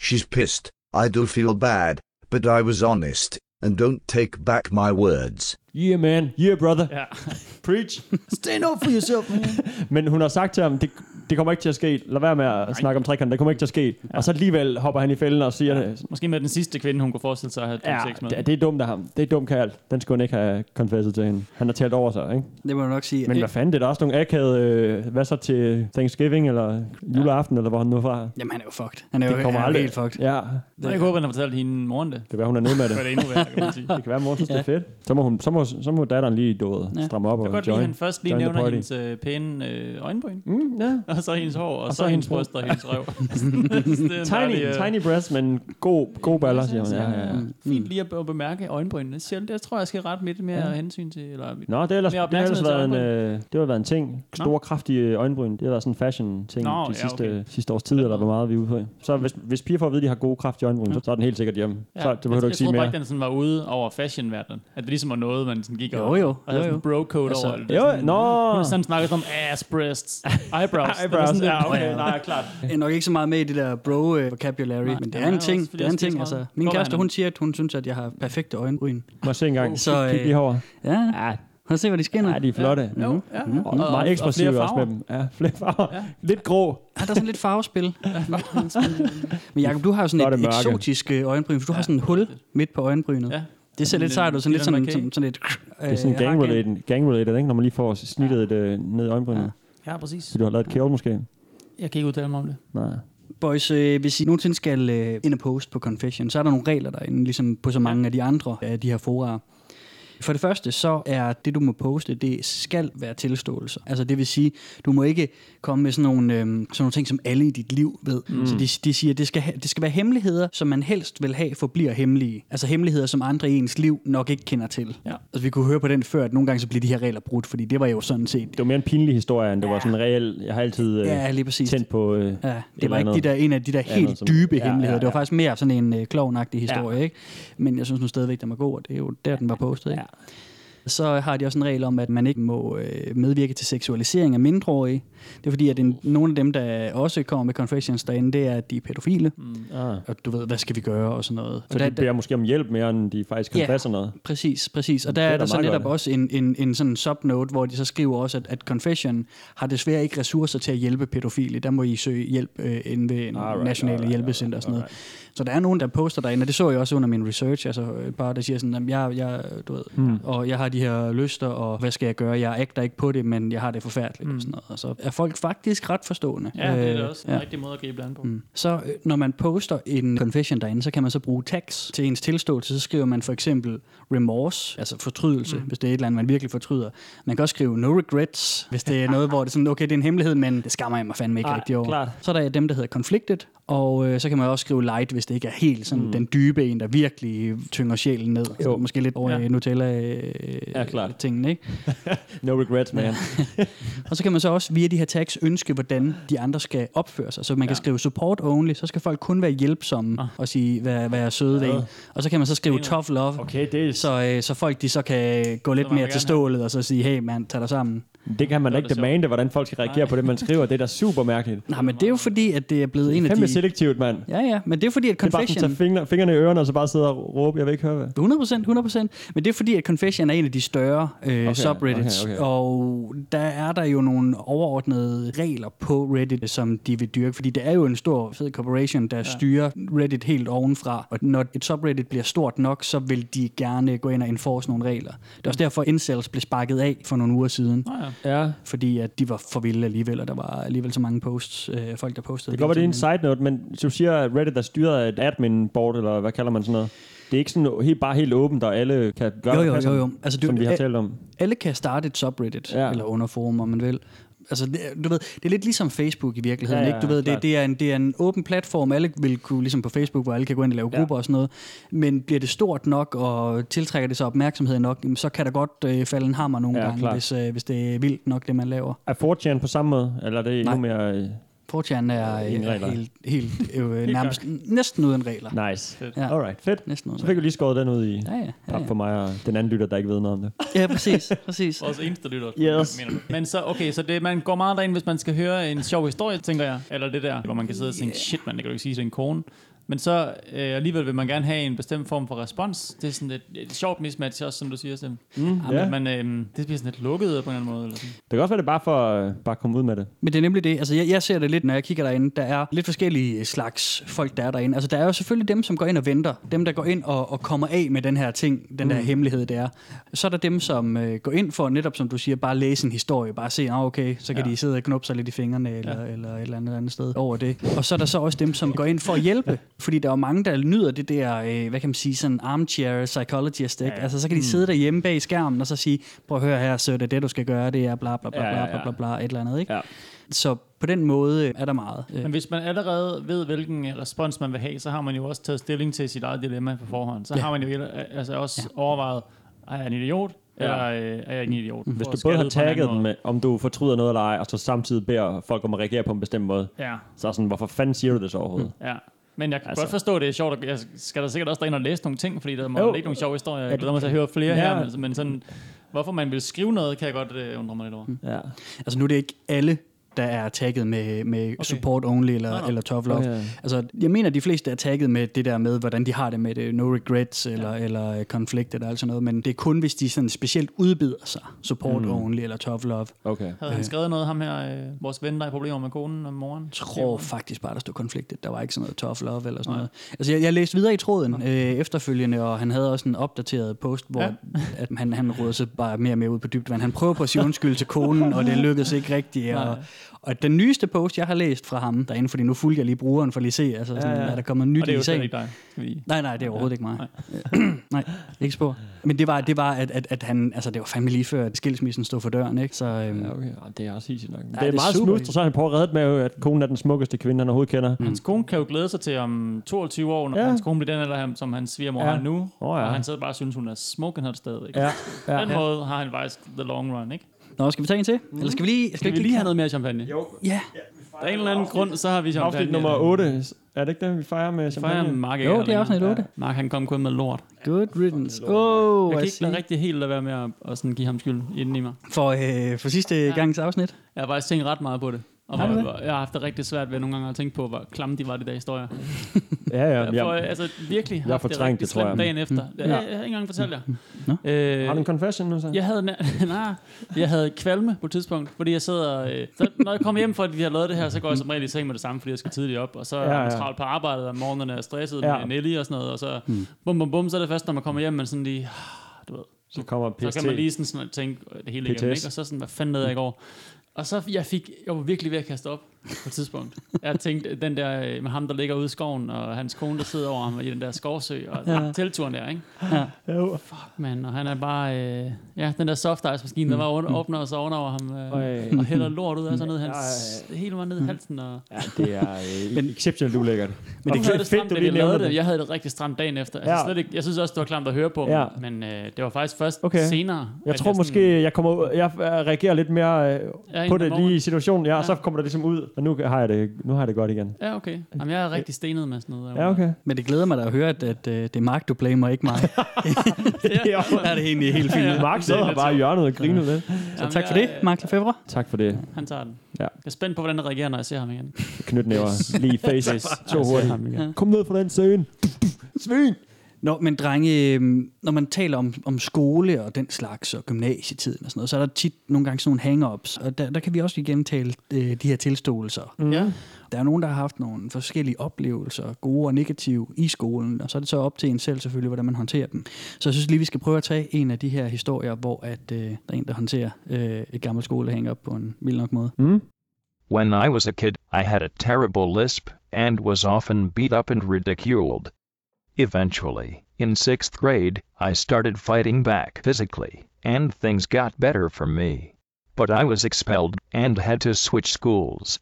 Speaker 7: She's pissed, I do feel bad, but I was honest, and don't take back my words.
Speaker 4: Yeah, man. Yeah, brother.
Speaker 3: Ja.
Speaker 4: Preach.
Speaker 3: Stand up for yourself, man.
Speaker 4: Men hun har sagt til ham, det, det kommer ikke til at ske. Lad være med at snakke om trækerne. Det kommer ikke til at ske. Ja. Og så alligevel hopper han i fælden og siger, ja,
Speaker 3: Måske med den sidste kvinde, hun kunne forestille sig at have ja, sex med.
Speaker 4: det, det er dumt af ham. Det er dumt, Karl. Den skulle han ikke have konfesset til hende. Han har talt over sig, ikke?
Speaker 5: Det må jeg nok sige.
Speaker 4: Men hvad fanden, det er da også nogle akavede, øh, hvad så til Thanksgiving eller juleaften, eller hvor han nu er fra.
Speaker 5: Øh, Jamen, han er jo fucked. Han er jo
Speaker 4: Det kommer
Speaker 5: han er
Speaker 4: aldrig.
Speaker 5: helt fucked.
Speaker 4: Ja,
Speaker 3: det, jeg håber, han har fortalt hende moren det.
Speaker 4: det kan være, hun er nede med det.
Speaker 3: Det var det endnu værre, kan man sige.
Speaker 4: Det kan være, mor synes, det
Speaker 5: Ja.
Speaker 4: er fedt. Så må, hun, så må, så må datteren lige du ved,
Speaker 5: Ja.
Speaker 4: stramme op
Speaker 3: Jeg kan
Speaker 4: og
Speaker 3: godt lide, at
Speaker 4: join.
Speaker 3: han først lige
Speaker 4: Join the
Speaker 3: nævner
Speaker 4: party.
Speaker 3: hendes øh, pæne øh, øjenbryn,
Speaker 4: Mm, ja.
Speaker 3: og så hendes hår, og, og så,
Speaker 4: så
Speaker 3: så hendes
Speaker 4: hendes
Speaker 3: bryst og hendes røv. det er
Speaker 4: Tiny,
Speaker 3: øh,
Speaker 4: tiny breasts, men god, god baller, siger hun. Ja, ja, ja.
Speaker 3: Fint lige at at bemærke øjenbrynene. Selv det tror jeg, jeg skal ret midt mere ja. hensyn til. Eller,
Speaker 4: Nå, det har ellers, det
Speaker 3: Mere
Speaker 4: har ellers været, en, øh,
Speaker 3: opmærksomhed
Speaker 4: det har været en ting. Store, kraftige øjenbryn. Det har været sådan en fashion-ting
Speaker 3: Nå,
Speaker 4: de
Speaker 3: ja,
Speaker 4: sidste,
Speaker 3: okay.
Speaker 4: sidste års tid, eller hvor meget vi er ude på. Så hvis, hvis piger får at vide, at de har gode, kraftige øjenbryn, så er den helt sikkert hjemme. Ja, så det behøver
Speaker 3: jeg,
Speaker 4: du ikke
Speaker 3: jeg
Speaker 4: sige
Speaker 3: troede bare
Speaker 4: mere.
Speaker 3: ikke, den sådan var ude over fashionverdenen. At det ligesom var noget, man sådan gik
Speaker 5: Jo,
Speaker 3: over.
Speaker 5: jo.
Speaker 3: Og havde
Speaker 5: Jo,
Speaker 3: sådan
Speaker 5: jo.
Speaker 3: en bro-code
Speaker 5: Altså,
Speaker 3: over det.
Speaker 4: Jo,
Speaker 3: Sådan-
Speaker 4: nå.
Speaker 3: Hun sådan snakkede om ass, breasts, eyebrows. Det var
Speaker 4: Eyebrows,
Speaker 3: sådan,
Speaker 4: ja.
Speaker 3: ja, okay, nej, klart.
Speaker 5: Jeg er nok ikke så meget med i det der bro øh, vocabulary,
Speaker 3: Nej,
Speaker 5: men det
Speaker 3: jamen,
Speaker 5: er en
Speaker 3: jeg er også
Speaker 5: ting. Det er en
Speaker 3: selvfølgelig
Speaker 5: ting,
Speaker 3: også
Speaker 5: altså.
Speaker 3: lidt
Speaker 5: Min
Speaker 3: meget.
Speaker 5: kæreste,
Speaker 3: Går
Speaker 5: hun
Speaker 3: han?
Speaker 5: siger, at hun synes, at jeg har perfekte øjenbryn.
Speaker 4: Må jeg se engang.
Speaker 5: Så,
Speaker 4: Så,
Speaker 5: øh,
Speaker 4: Kig lige herover.
Speaker 5: Ja,
Speaker 4: Ja,
Speaker 5: prøv at se, hvor de skinner. Mm.
Speaker 4: nej, de er flotte. Ja,
Speaker 3: Jo, ja.
Speaker 4: Og, og meget ekspressive også med dem. Ja, flere farver. Ja. Lidt grå.
Speaker 5: Ja, der er sådan lidt farvespil. men Jacob, du har jo
Speaker 4: Flotte
Speaker 5: sådan et
Speaker 4: mørke.
Speaker 5: eksotisk øh, øøjenbryn, for du har sådan en hul midt på øjenbrynet.
Speaker 3: Ja.
Speaker 5: Det ser
Speaker 3: Sådan
Speaker 5: lidt
Speaker 3: en-
Speaker 5: sejt ud, sådan lidt
Speaker 3: Dylan
Speaker 5: som,
Speaker 3: McKay.
Speaker 5: som, sådan Øh, lidt...
Speaker 4: Det er sådan gang-related, gang-related ikke? når man lige får snittet et, øh, ned i øjenbrynet.
Speaker 5: Ja.
Speaker 3: Ja, præcis.
Speaker 4: Så du har lavet et kjole måske?
Speaker 3: Jeg kan ikke udtale mig om det.
Speaker 4: Nej.
Speaker 5: Boys, øh, hvis I nogensinde skal øh, ind og post på Confession, så er der nogle regler derinde, ligesom på så mange af de andre af de her forarer. For det første, så er det, du må poste, det skal være tilståelser. Altså det vil sige, du må ikke komme med sådan nogle, øhm, sådan nogle ting, som alle i dit liv ved. Mm. Så de, de siger, det skal, ha- det skal være hemmeligheder, som man helst vil have forbliver hemmelige. Altså hemmeligheder, som andre i ens liv nok ikke kender til.
Speaker 3: Ja.
Speaker 5: Altså vi kunne høre på den før, at nogle gange så bliver de her regler brudt, fordi det var jo sådan set
Speaker 4: Det var mere en pinlig historie, end det var sådan en reel... Jeg har altid øh,
Speaker 5: Ja, lige præcis.
Speaker 4: tændt på... Øh,
Speaker 5: Ja, det
Speaker 4: eller
Speaker 5: var ikke
Speaker 4: andet.
Speaker 5: de der, en af de der
Speaker 4: andet,
Speaker 5: helt
Speaker 4: som-
Speaker 5: dybe
Speaker 4: Ja,
Speaker 5: hemmeligheder.
Speaker 4: ja,
Speaker 5: Det var
Speaker 4: ja.
Speaker 5: faktisk mere sådan en øh, klovnagtig historie, ikke? Men jeg synes nu stadigvæk, den var god, og det er jo der, den var postet, ikke? Så har de også en regel om, at man ikke må øh, medvirke til seksualisering af mindreårige. Det er fordi, at en, nogle af dem, der også kommer med confessions derinde, det er, at de er pædofile. Mm.
Speaker 4: Ah.
Speaker 5: Og du ved, hvad skal vi gøre og sådan noget.
Speaker 4: Så
Speaker 5: og der,
Speaker 4: de beder måske om hjælp mere, end de faktisk kan
Speaker 5: Ja.
Speaker 4: fatte noget.
Speaker 5: Præcis, præcis. Og der
Speaker 4: Det
Speaker 5: er,
Speaker 4: er
Speaker 5: er
Speaker 4: da
Speaker 5: der så
Speaker 4: meget
Speaker 5: netop
Speaker 4: godt.
Speaker 5: også en, en, en sådan subnote, hvor de så skriver også, at, at Confession har desværre ikke ressourcer til at hjælpe pædofile. Der må I søge hjælp øh, inde ved en
Speaker 4: Alright,
Speaker 5: nationale
Speaker 4: alright,
Speaker 5: hjælpecenter og sådan noget. Så der er nogen, der poster derinde, og det så jeg også under min research, altså øh, bare der siger sådan, at jeg, jeg, du ved, hmm. og jeg har de her lyster, og hvad skal jeg gøre? Jeg agter ikke på det, men jeg har det forfærdeligt
Speaker 4: Hmm.
Speaker 5: mm. og sådan noget. Og så er folk faktisk ret forstående.
Speaker 3: Ja, det er da
Speaker 5: Øh,
Speaker 3: også en rigtig måde at gribe an på. Mm.
Speaker 5: så øh, når man poster en confession derinde, så kan man så bruge tags til ens tilståelse. Så skriver man for eksempel remorse, altså fortrydelse, mm. hvis det er et eller andet, man virkelig fortryder. Man kan også skrive no regrets, hvis det er noget, hvor det er sådan, okay, det er en hemmelighed, men det skammer jeg mig fandme ikke
Speaker 4: Ej,
Speaker 5: rigtig over.
Speaker 4: klart.
Speaker 5: Så er der dem, der hedder conflicted, og øh, så kan man også skrive light, hvis det ikke er helt sådan mm. den dybe en, der virkelig tynger sjælen ned. Jo. Måske lidt over
Speaker 3: Ja.
Speaker 5: ja. Nutella-tingen,
Speaker 4: Ja, klart.
Speaker 5: ikke?
Speaker 4: No regrets, man.
Speaker 5: Og så kan man så også via de her tags ønske, hvordan de andre skal opføre sig. Så man kan skrive support only, så skal folk kun være hjælpsomme og sige, være, være søde ved en. Og så kan man så skrive tough love,
Speaker 4: Okay, det, er,
Speaker 5: så, øh, så folk de så kan gå lidt
Speaker 3: man
Speaker 5: mere til
Speaker 3: vil gerne have.
Speaker 5: stålet og så sige, hey mand, tag dig sammen.
Speaker 4: det kan man da
Speaker 3: var
Speaker 4: ikke
Speaker 3: da sjovt.
Speaker 4: demande, hvordan folk skal reagere på det, man skriver. Det er da super mærkeligt.
Speaker 5: Nej, men det er jo fordi, at det er blevet en af
Speaker 4: Kæmpe
Speaker 5: de...
Speaker 4: selektivt, mand. Det
Speaker 5: Ja, ja, men det er fordi, at
Speaker 4: er bare sådan,
Speaker 5: Confession...
Speaker 4: tage fingre, fingrene i ørerne, og så bare sidde og råbe, jeg vil ikke høre, hvad.
Speaker 5: 100%, 100%. Men det er fordi, at Confession er en af de større øh,
Speaker 4: Okay,
Speaker 5: okay, subreddits,
Speaker 4: okay,
Speaker 5: okay,
Speaker 4: okay.
Speaker 5: okay. og der er der jo nogle overordnede regler på Reddit, som de vil dyrke, fordi det er jo en stor, fed corporation, der ja. styrer Reddit helt ovenfra, og når et subreddit bliver stort nok, så vil de gerne gå ind og enforce nogle regler. Det er også derfor, incels blev sparket af for nogle uger siden,
Speaker 3: Nå ja.
Speaker 4: Ja.
Speaker 5: fordi at de var for vilde alligevel, og der var alligevel så mange posts, øh, folk der postede.
Speaker 4: Det går godt, det er
Speaker 5: hele
Speaker 4: en
Speaker 5: tiden.
Speaker 4: side note, men hvis du siger, at Reddit er styret af et admin board, eller hvad kalder man sådan noget. Det er ikke sådan helt, bare helt åbent, og alle kan gøre,
Speaker 5: Jo,
Speaker 4: hvad
Speaker 5: jo,
Speaker 4: passer
Speaker 5: jo,
Speaker 4: dem,
Speaker 5: jo. Altså, det er
Speaker 4: som
Speaker 5: jo-
Speaker 4: vi har
Speaker 5: al-
Speaker 4: talt om.
Speaker 5: alle kan starte et subreddit,
Speaker 4: Ja.
Speaker 5: ja. eller underforum, om man vil. Altså, det, er- du ved, det er lidt ligesom Facebook i virkeligheden,
Speaker 4: Ja,
Speaker 5: ja,
Speaker 4: ja,
Speaker 5: ikke? Du ved,
Speaker 4: klart.
Speaker 5: det, det, er en, det er en åben platform, alle vil kunne, ligesom på Facebook, hvor alle kan gå ind og lave
Speaker 4: Ja.
Speaker 5: grupper og sådan noget, men bliver det stort nok, og tiltrækker det så opmærksomhed nok, jamen, så kan der godt øh, falde en hammer nogle
Speaker 4: Ja,
Speaker 5: ja, gange,
Speaker 4: klart.
Speaker 5: hvis, øh, hvis det er vildt nok, det man laver.
Speaker 4: Er 4 på samme måde, eller er det endnu
Speaker 5: Nej.
Speaker 4: mere øh,
Speaker 5: Fortjern er
Speaker 4: Ingen regler.
Speaker 5: øh, helt, helt øh, nærmest, næsten uden regler.
Speaker 4: nice?
Speaker 5: Ja.
Speaker 4: Alright, fedt.
Speaker 5: Næsten uden
Speaker 4: Så fik
Speaker 5: regler.
Speaker 4: vi lige skåret den ud i
Speaker 5: Ja, ja, ja,
Speaker 4: pap
Speaker 5: ja.
Speaker 4: for mig og den anden lytter, der ikke ved noget om det.
Speaker 5: ja, præcis, præcis.
Speaker 3: Vores eneste lytter.
Speaker 4: Yes.
Speaker 3: mener du. Men så, okay, så det, man går meget derind, hvis man skal høre en sjov historie, tænker jeg. Eller det der, hvor man kan sidde og tænke, shit, man, det kan du ikke sige til en kone. Men så øh, alligevel vil man gerne have en bestemt form for respons. Det er sådan et, et sjovt mismatch også, som du siger, Stem.
Speaker 4: Mm, ja.
Speaker 3: Ja. Men øh, det bliver sådan lidt lukket på en eller anden måde. Eller sådan.
Speaker 4: Det kan også være, det er bare for øh, bare at komme ud med det.
Speaker 5: Men det er nemlig det. Altså, jeg, jeg ser det lidt, når jeg kigger derinde. Der er lidt forskellige øh, slags folk, der er derinde. Altså, der er jo selvfølgelig dem, som går ind og venter. Dem, der går ind og, og kommer af med den her ting, den der mm. hemmelighed, det er. Så er der dem, som øh, går ind for netop, som du siger, bare læse en historie. Bare se, ah, okay, så kan
Speaker 3: Ja.
Speaker 5: ja. de sidde og knuppe sig lidt i fingrene eller, ja. eller et eller andet andet sted over det. Og så er der så også dem, som går ind for at hjælpe. Fordi der er jo mange, der nyder det der, øh, hvad kan man sige, sådan armchair psychology aspect. Ja, ja. Altså, så kan de sidde derhjemme bag skærmen og så sige, prøv at høre her, så det er det, du skal gøre, det er bla bla bla
Speaker 4: Ja,
Speaker 5: bla
Speaker 4: ja, ja.
Speaker 5: bla bla, bla et eller andet, ikke?
Speaker 4: Ja.
Speaker 5: Så på den måde øh, er der meget. Øh,
Speaker 3: Men hvis man allerede ved, hvilken respons man vil have, så har man jo også taget stilling til sit eget dilemma på forhånd. Så ja. har man jo el- altså også ja. overvejet, er jeg en idiot,
Speaker 4: Ja.
Speaker 3: ja. eller øh, er jeg ikke en idiot?
Speaker 4: Hvis
Speaker 3: For
Speaker 4: du både har
Speaker 3: at skælde på en anden
Speaker 4: tagget dem
Speaker 3: måde.
Speaker 4: med, om du fortryder noget eller ej, og så samtidig beder folk om at reagere på en bestemt måde,
Speaker 3: Ja,
Speaker 4: så er sådan, hvorfor fanden siger du det så overhovedet?
Speaker 3: ja. Men jeg kan
Speaker 4: Altså.
Speaker 3: altså. godt forstå, at det er sjovt. at- Jeg skal da sikkert også derind og læse nogle ting, fordi der må
Speaker 4: Jo.
Speaker 3: jo. ligge nogle sjove historier. Jeg glæder mig til at høre flere
Speaker 4: Ja.
Speaker 3: ja. her. Men, altså, men sådan, hvorfor man vil skrive noget, kan jeg godt øh, undre mig lidt over.
Speaker 4: Ja.
Speaker 5: Altså nu er det ikke alle, der er tagget med, med okay. support only eller,
Speaker 3: Nå, nå.
Speaker 5: eller tough love.
Speaker 4: Okay.
Speaker 5: Altså, jeg mener, at de fleste er tagget med det der med, hvordan de har det med det, no regrets eller, ja. eller øh, konflikt eller alt sådan noget, men det er kun, hvis de sådan specielt udbyder sig support mm. only eller tough love.
Speaker 4: Okay.
Speaker 3: Havde han skrevet noget, ham her, øh, vores ven, der er i problemer med konen om morgenen?
Speaker 5: Jeg tror faktisk bare, der stod konfliktet. Der var ikke sådan noget tough love eller sådan noget. Altså, jeg, jeg læste videre i tråden øh, efterfølgende, og han havde også en opdateret post, hvor ja.
Speaker 3: Ja.
Speaker 5: at han, han råder sig bare mere og mere ud på dybt vand. Han prøver på at sige undskyld til konen, og det lykkedes ikke rigtigt. Og, og den nyeste post, jeg har læst fra ham derinde, fordi nu fulgte jeg lige brugeren for lige at se, altså, sådan, ja,
Speaker 4: ja.
Speaker 5: ja. er der kommet nyt
Speaker 3: Og det er
Speaker 5: i
Speaker 3: jo slet
Speaker 5: sagen.
Speaker 3: ikke dig, skal vi lige.
Speaker 5: Nej, nej, det er overhovedet ikke mig. nej, ikke spor. Men det var, det var at, at, at han, altså det var fandme lige før, at skilsmissen stod for døren, ikke? Så, øhm,
Speaker 4: Ja, okay. Ja, det er også easy nok. Ja, det
Speaker 5: det
Speaker 4: er
Speaker 5: er
Speaker 4: meget
Speaker 5: super
Speaker 4: smukt, og så har han prøvet reddet med, at konen er den smukkeste kvinde, han overhovedet kender.
Speaker 3: Hans kone kan jo glæde sig til om 22 år, når
Speaker 4: Ja.
Speaker 3: ja. hans kone bliver den alder, han- som hans svigermor
Speaker 4: Ja.
Speaker 3: ja. har nu.
Speaker 4: Åh, ja.
Speaker 3: Og han sidder bare og synes, hun er smoking hot stadigvæk.
Speaker 4: Ja,
Speaker 3: På den
Speaker 4: ja.
Speaker 3: måde har han faktisk the long run, ikke?
Speaker 5: Nå, skal vi tage en til? Eller skal vi lige... Skal,
Speaker 3: Mm. Skal vi lige have noget mere champagne? Jo.
Speaker 5: Ja,
Speaker 3: Der er en eller anden grund, så har vi champagne.
Speaker 4: Afsnit nummer 8. Er det ikke den, vi fejrer med
Speaker 3: Fejrer
Speaker 4: champagne?
Speaker 3: Mark
Speaker 5: Jo,
Speaker 3: ikke
Speaker 5: det er afsnit
Speaker 3: alene.
Speaker 5: otte.
Speaker 3: Ja. Mark, han kom kun med lort.
Speaker 5: Good riddance. Oh,
Speaker 3: Jeg kan
Speaker 5: I
Speaker 3: ikke
Speaker 5: see.
Speaker 3: rigtig helt lade være med at, at sådan give ham skyld inden i mig.
Speaker 5: For, øh, for sidste ja. gangs afsnit.
Speaker 3: Jeg har faktisk tænkt ret meget på det. Og
Speaker 5: Har du
Speaker 3: hvor, hvor jeg har haft det rigtig svært ved nogle gange at tænke på, hvor klamme de var de der historier.
Speaker 4: Ja, ja.
Speaker 3: Jeg, får,
Speaker 4: ja.
Speaker 3: altså virkelig
Speaker 4: har
Speaker 3: haft det
Speaker 4: fortrængt
Speaker 3: rigtig
Speaker 4: det, tror jeg.
Speaker 3: slemt dagen efter. Jeg,
Speaker 4: Ja.
Speaker 3: jeg, jeg havde ikke engang fortalt jer.
Speaker 5: Nå.
Speaker 3: Øh,
Speaker 4: Har du en confession nu så?
Speaker 3: Jeg havde, næ- nej, jeg havde kvalme på et tidspunkt, fordi jeg sidder... Øh, så når jeg kommer hjem fra, at vi har lavet det her, så går jeg som regel i seng med det samme, fordi jeg skal tidligt op, og så
Speaker 4: Ja,
Speaker 3: er jeg
Speaker 4: ja.
Speaker 3: travlt på arbejdet om morgenen, og jeg er stresset
Speaker 4: Ja. Hmm.
Speaker 3: ja. med Nelly og sådan noget, og så bum, bum, bum, så er det først, når man kommer hjem, man sådan lige... ah, Du ved,
Speaker 4: Så kommer PST.
Speaker 3: så kan man lige sådan, sådan tænke øh, det hele igennem,
Speaker 4: PTS.
Speaker 3: ikke? og så sådan, hvad fanden lavede jeg i går? Og så jeg fik, jeg var virkelig ved at kaste op på et tidspunkt. Jeg tænkte, den der øh, med ham, der ligger ude i skoven, og hans kone, der sidder over ham i den der skovsø, og ja. telturen der, ikke?
Speaker 4: Jo.
Speaker 3: Man, og han er bare... Øh, ja, den der soft ice maskine, der bare under, åbner sig ovenover ham,
Speaker 4: Mm. Øj.
Speaker 3: øh, og hælder lort ud af sig ned i hans, hele vejen ned
Speaker 4: Mm.
Speaker 3: i halsen. Og,
Speaker 4: Ja, det er øh, Men, exceptionelt ulækkert.
Speaker 3: men det,
Speaker 4: fedt-
Speaker 3: var det stramt,
Speaker 4: du
Speaker 3: da vi
Speaker 4: lige
Speaker 3: lavede
Speaker 4: nævner
Speaker 3: det. Jeg havde det rigtig stramt dagen efter. Altså,
Speaker 4: Ja.
Speaker 3: ja. slet ikke, jeg synes også, det var klamt at høre på,
Speaker 4: Ja.
Speaker 3: ja. men øh, det var faktisk først
Speaker 4: Okay.
Speaker 3: okay. senere.
Speaker 4: Jeg
Speaker 3: at
Speaker 4: tror måske, jeg, kommer, ud- jeg øh, reagerer lidt mere øh,
Speaker 3: Ja,
Speaker 4: på det
Speaker 3: inden om
Speaker 4: lige i
Speaker 3: morgenen.
Speaker 4: situationen, ja, og så
Speaker 3: Ja.
Speaker 4: kommer det ligesom ud, og nu har jeg det, nu har jeg det godt igen.
Speaker 3: Ja, okay. Jamen, jeg er rigtig stenet med sådan noget.
Speaker 4: Ja, okay.
Speaker 5: Men det glæder mig da at høre, at, at øh, det er Mark, du blamer, ikke mig.
Speaker 4: Ja.
Speaker 5: Der er det egentlig helt fint.
Speaker 4: Mark sidder bare i hjørnet og griner lidt.
Speaker 5: Så tak for det, Mark Lefebvre.
Speaker 4: Tak for det.
Speaker 3: Han tager den.
Speaker 4: Ja. Mm-hmm.
Speaker 3: Ja. Jeg er spændt på, hvordan det reagerer, når jeg ser ham igen.
Speaker 4: Knytnæver lige i face. Så hurtigt.
Speaker 3: Ham igen.
Speaker 4: Kom ned fra den scene. Svin!
Speaker 5: Nå, men drenge, øhm, når man taler om, om skole og den slags, og gymnasietiden og sådan noget, så er der tit nogle gange sådan nogle hang-ups, og der, der kan vi også igen tale øh, de her tilståelser. Mm.
Speaker 3: Ja.
Speaker 5: Der er nogen, der har haft nogle forskellige oplevelser, gode og negative, i skolen, og så er det så op til en selv selvfølgelig, hvordan man håndterer dem. Så jeg synes lige, vi skal prøve at tage en af de her historier, hvor at, øh, der er en, der håndterer øh, et gammelt skolehang-up på en vild nok måde.
Speaker 4: Mm?
Speaker 9: When I was a kid, I had a terrible lisp and was often beat up and ridiculed. Eventually, in sixth grade, I started fighting back physically, and things got better for me. But I was expelled and had to switch schools.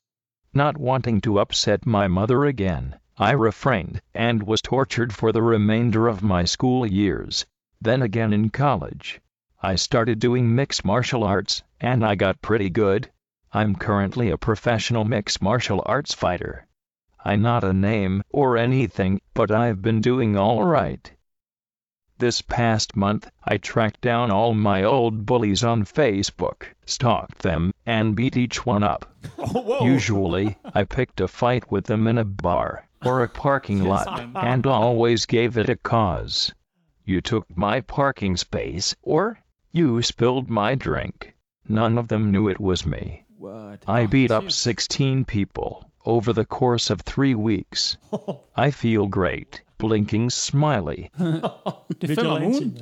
Speaker 9: Not wanting to upset my mother again, I refrained and was tortured for the remainder of my school years. Then again in college, I started doing mixed martial arts, and I got pretty good. I'm currently a professional mixed martial arts fighter. I'm not a name or anything, but I've been doing all right. This past month, I tracked down all my old bullies on Facebook, stalked them, and beat each one up. Usually, I picked a fight with them in a bar, or a parking
Speaker 3: Yes,
Speaker 9: lot
Speaker 3: ma'am.
Speaker 9: and always gave it a cause. You took my parking space or you spilled my drink. None of them knew it was me.
Speaker 4: What?
Speaker 5: Oh,
Speaker 9: I beat up
Speaker 3: jeez.
Speaker 9: 16 people over the course of three weeks. I feel great. Blinking smiley.
Speaker 3: Det er fem om ugen.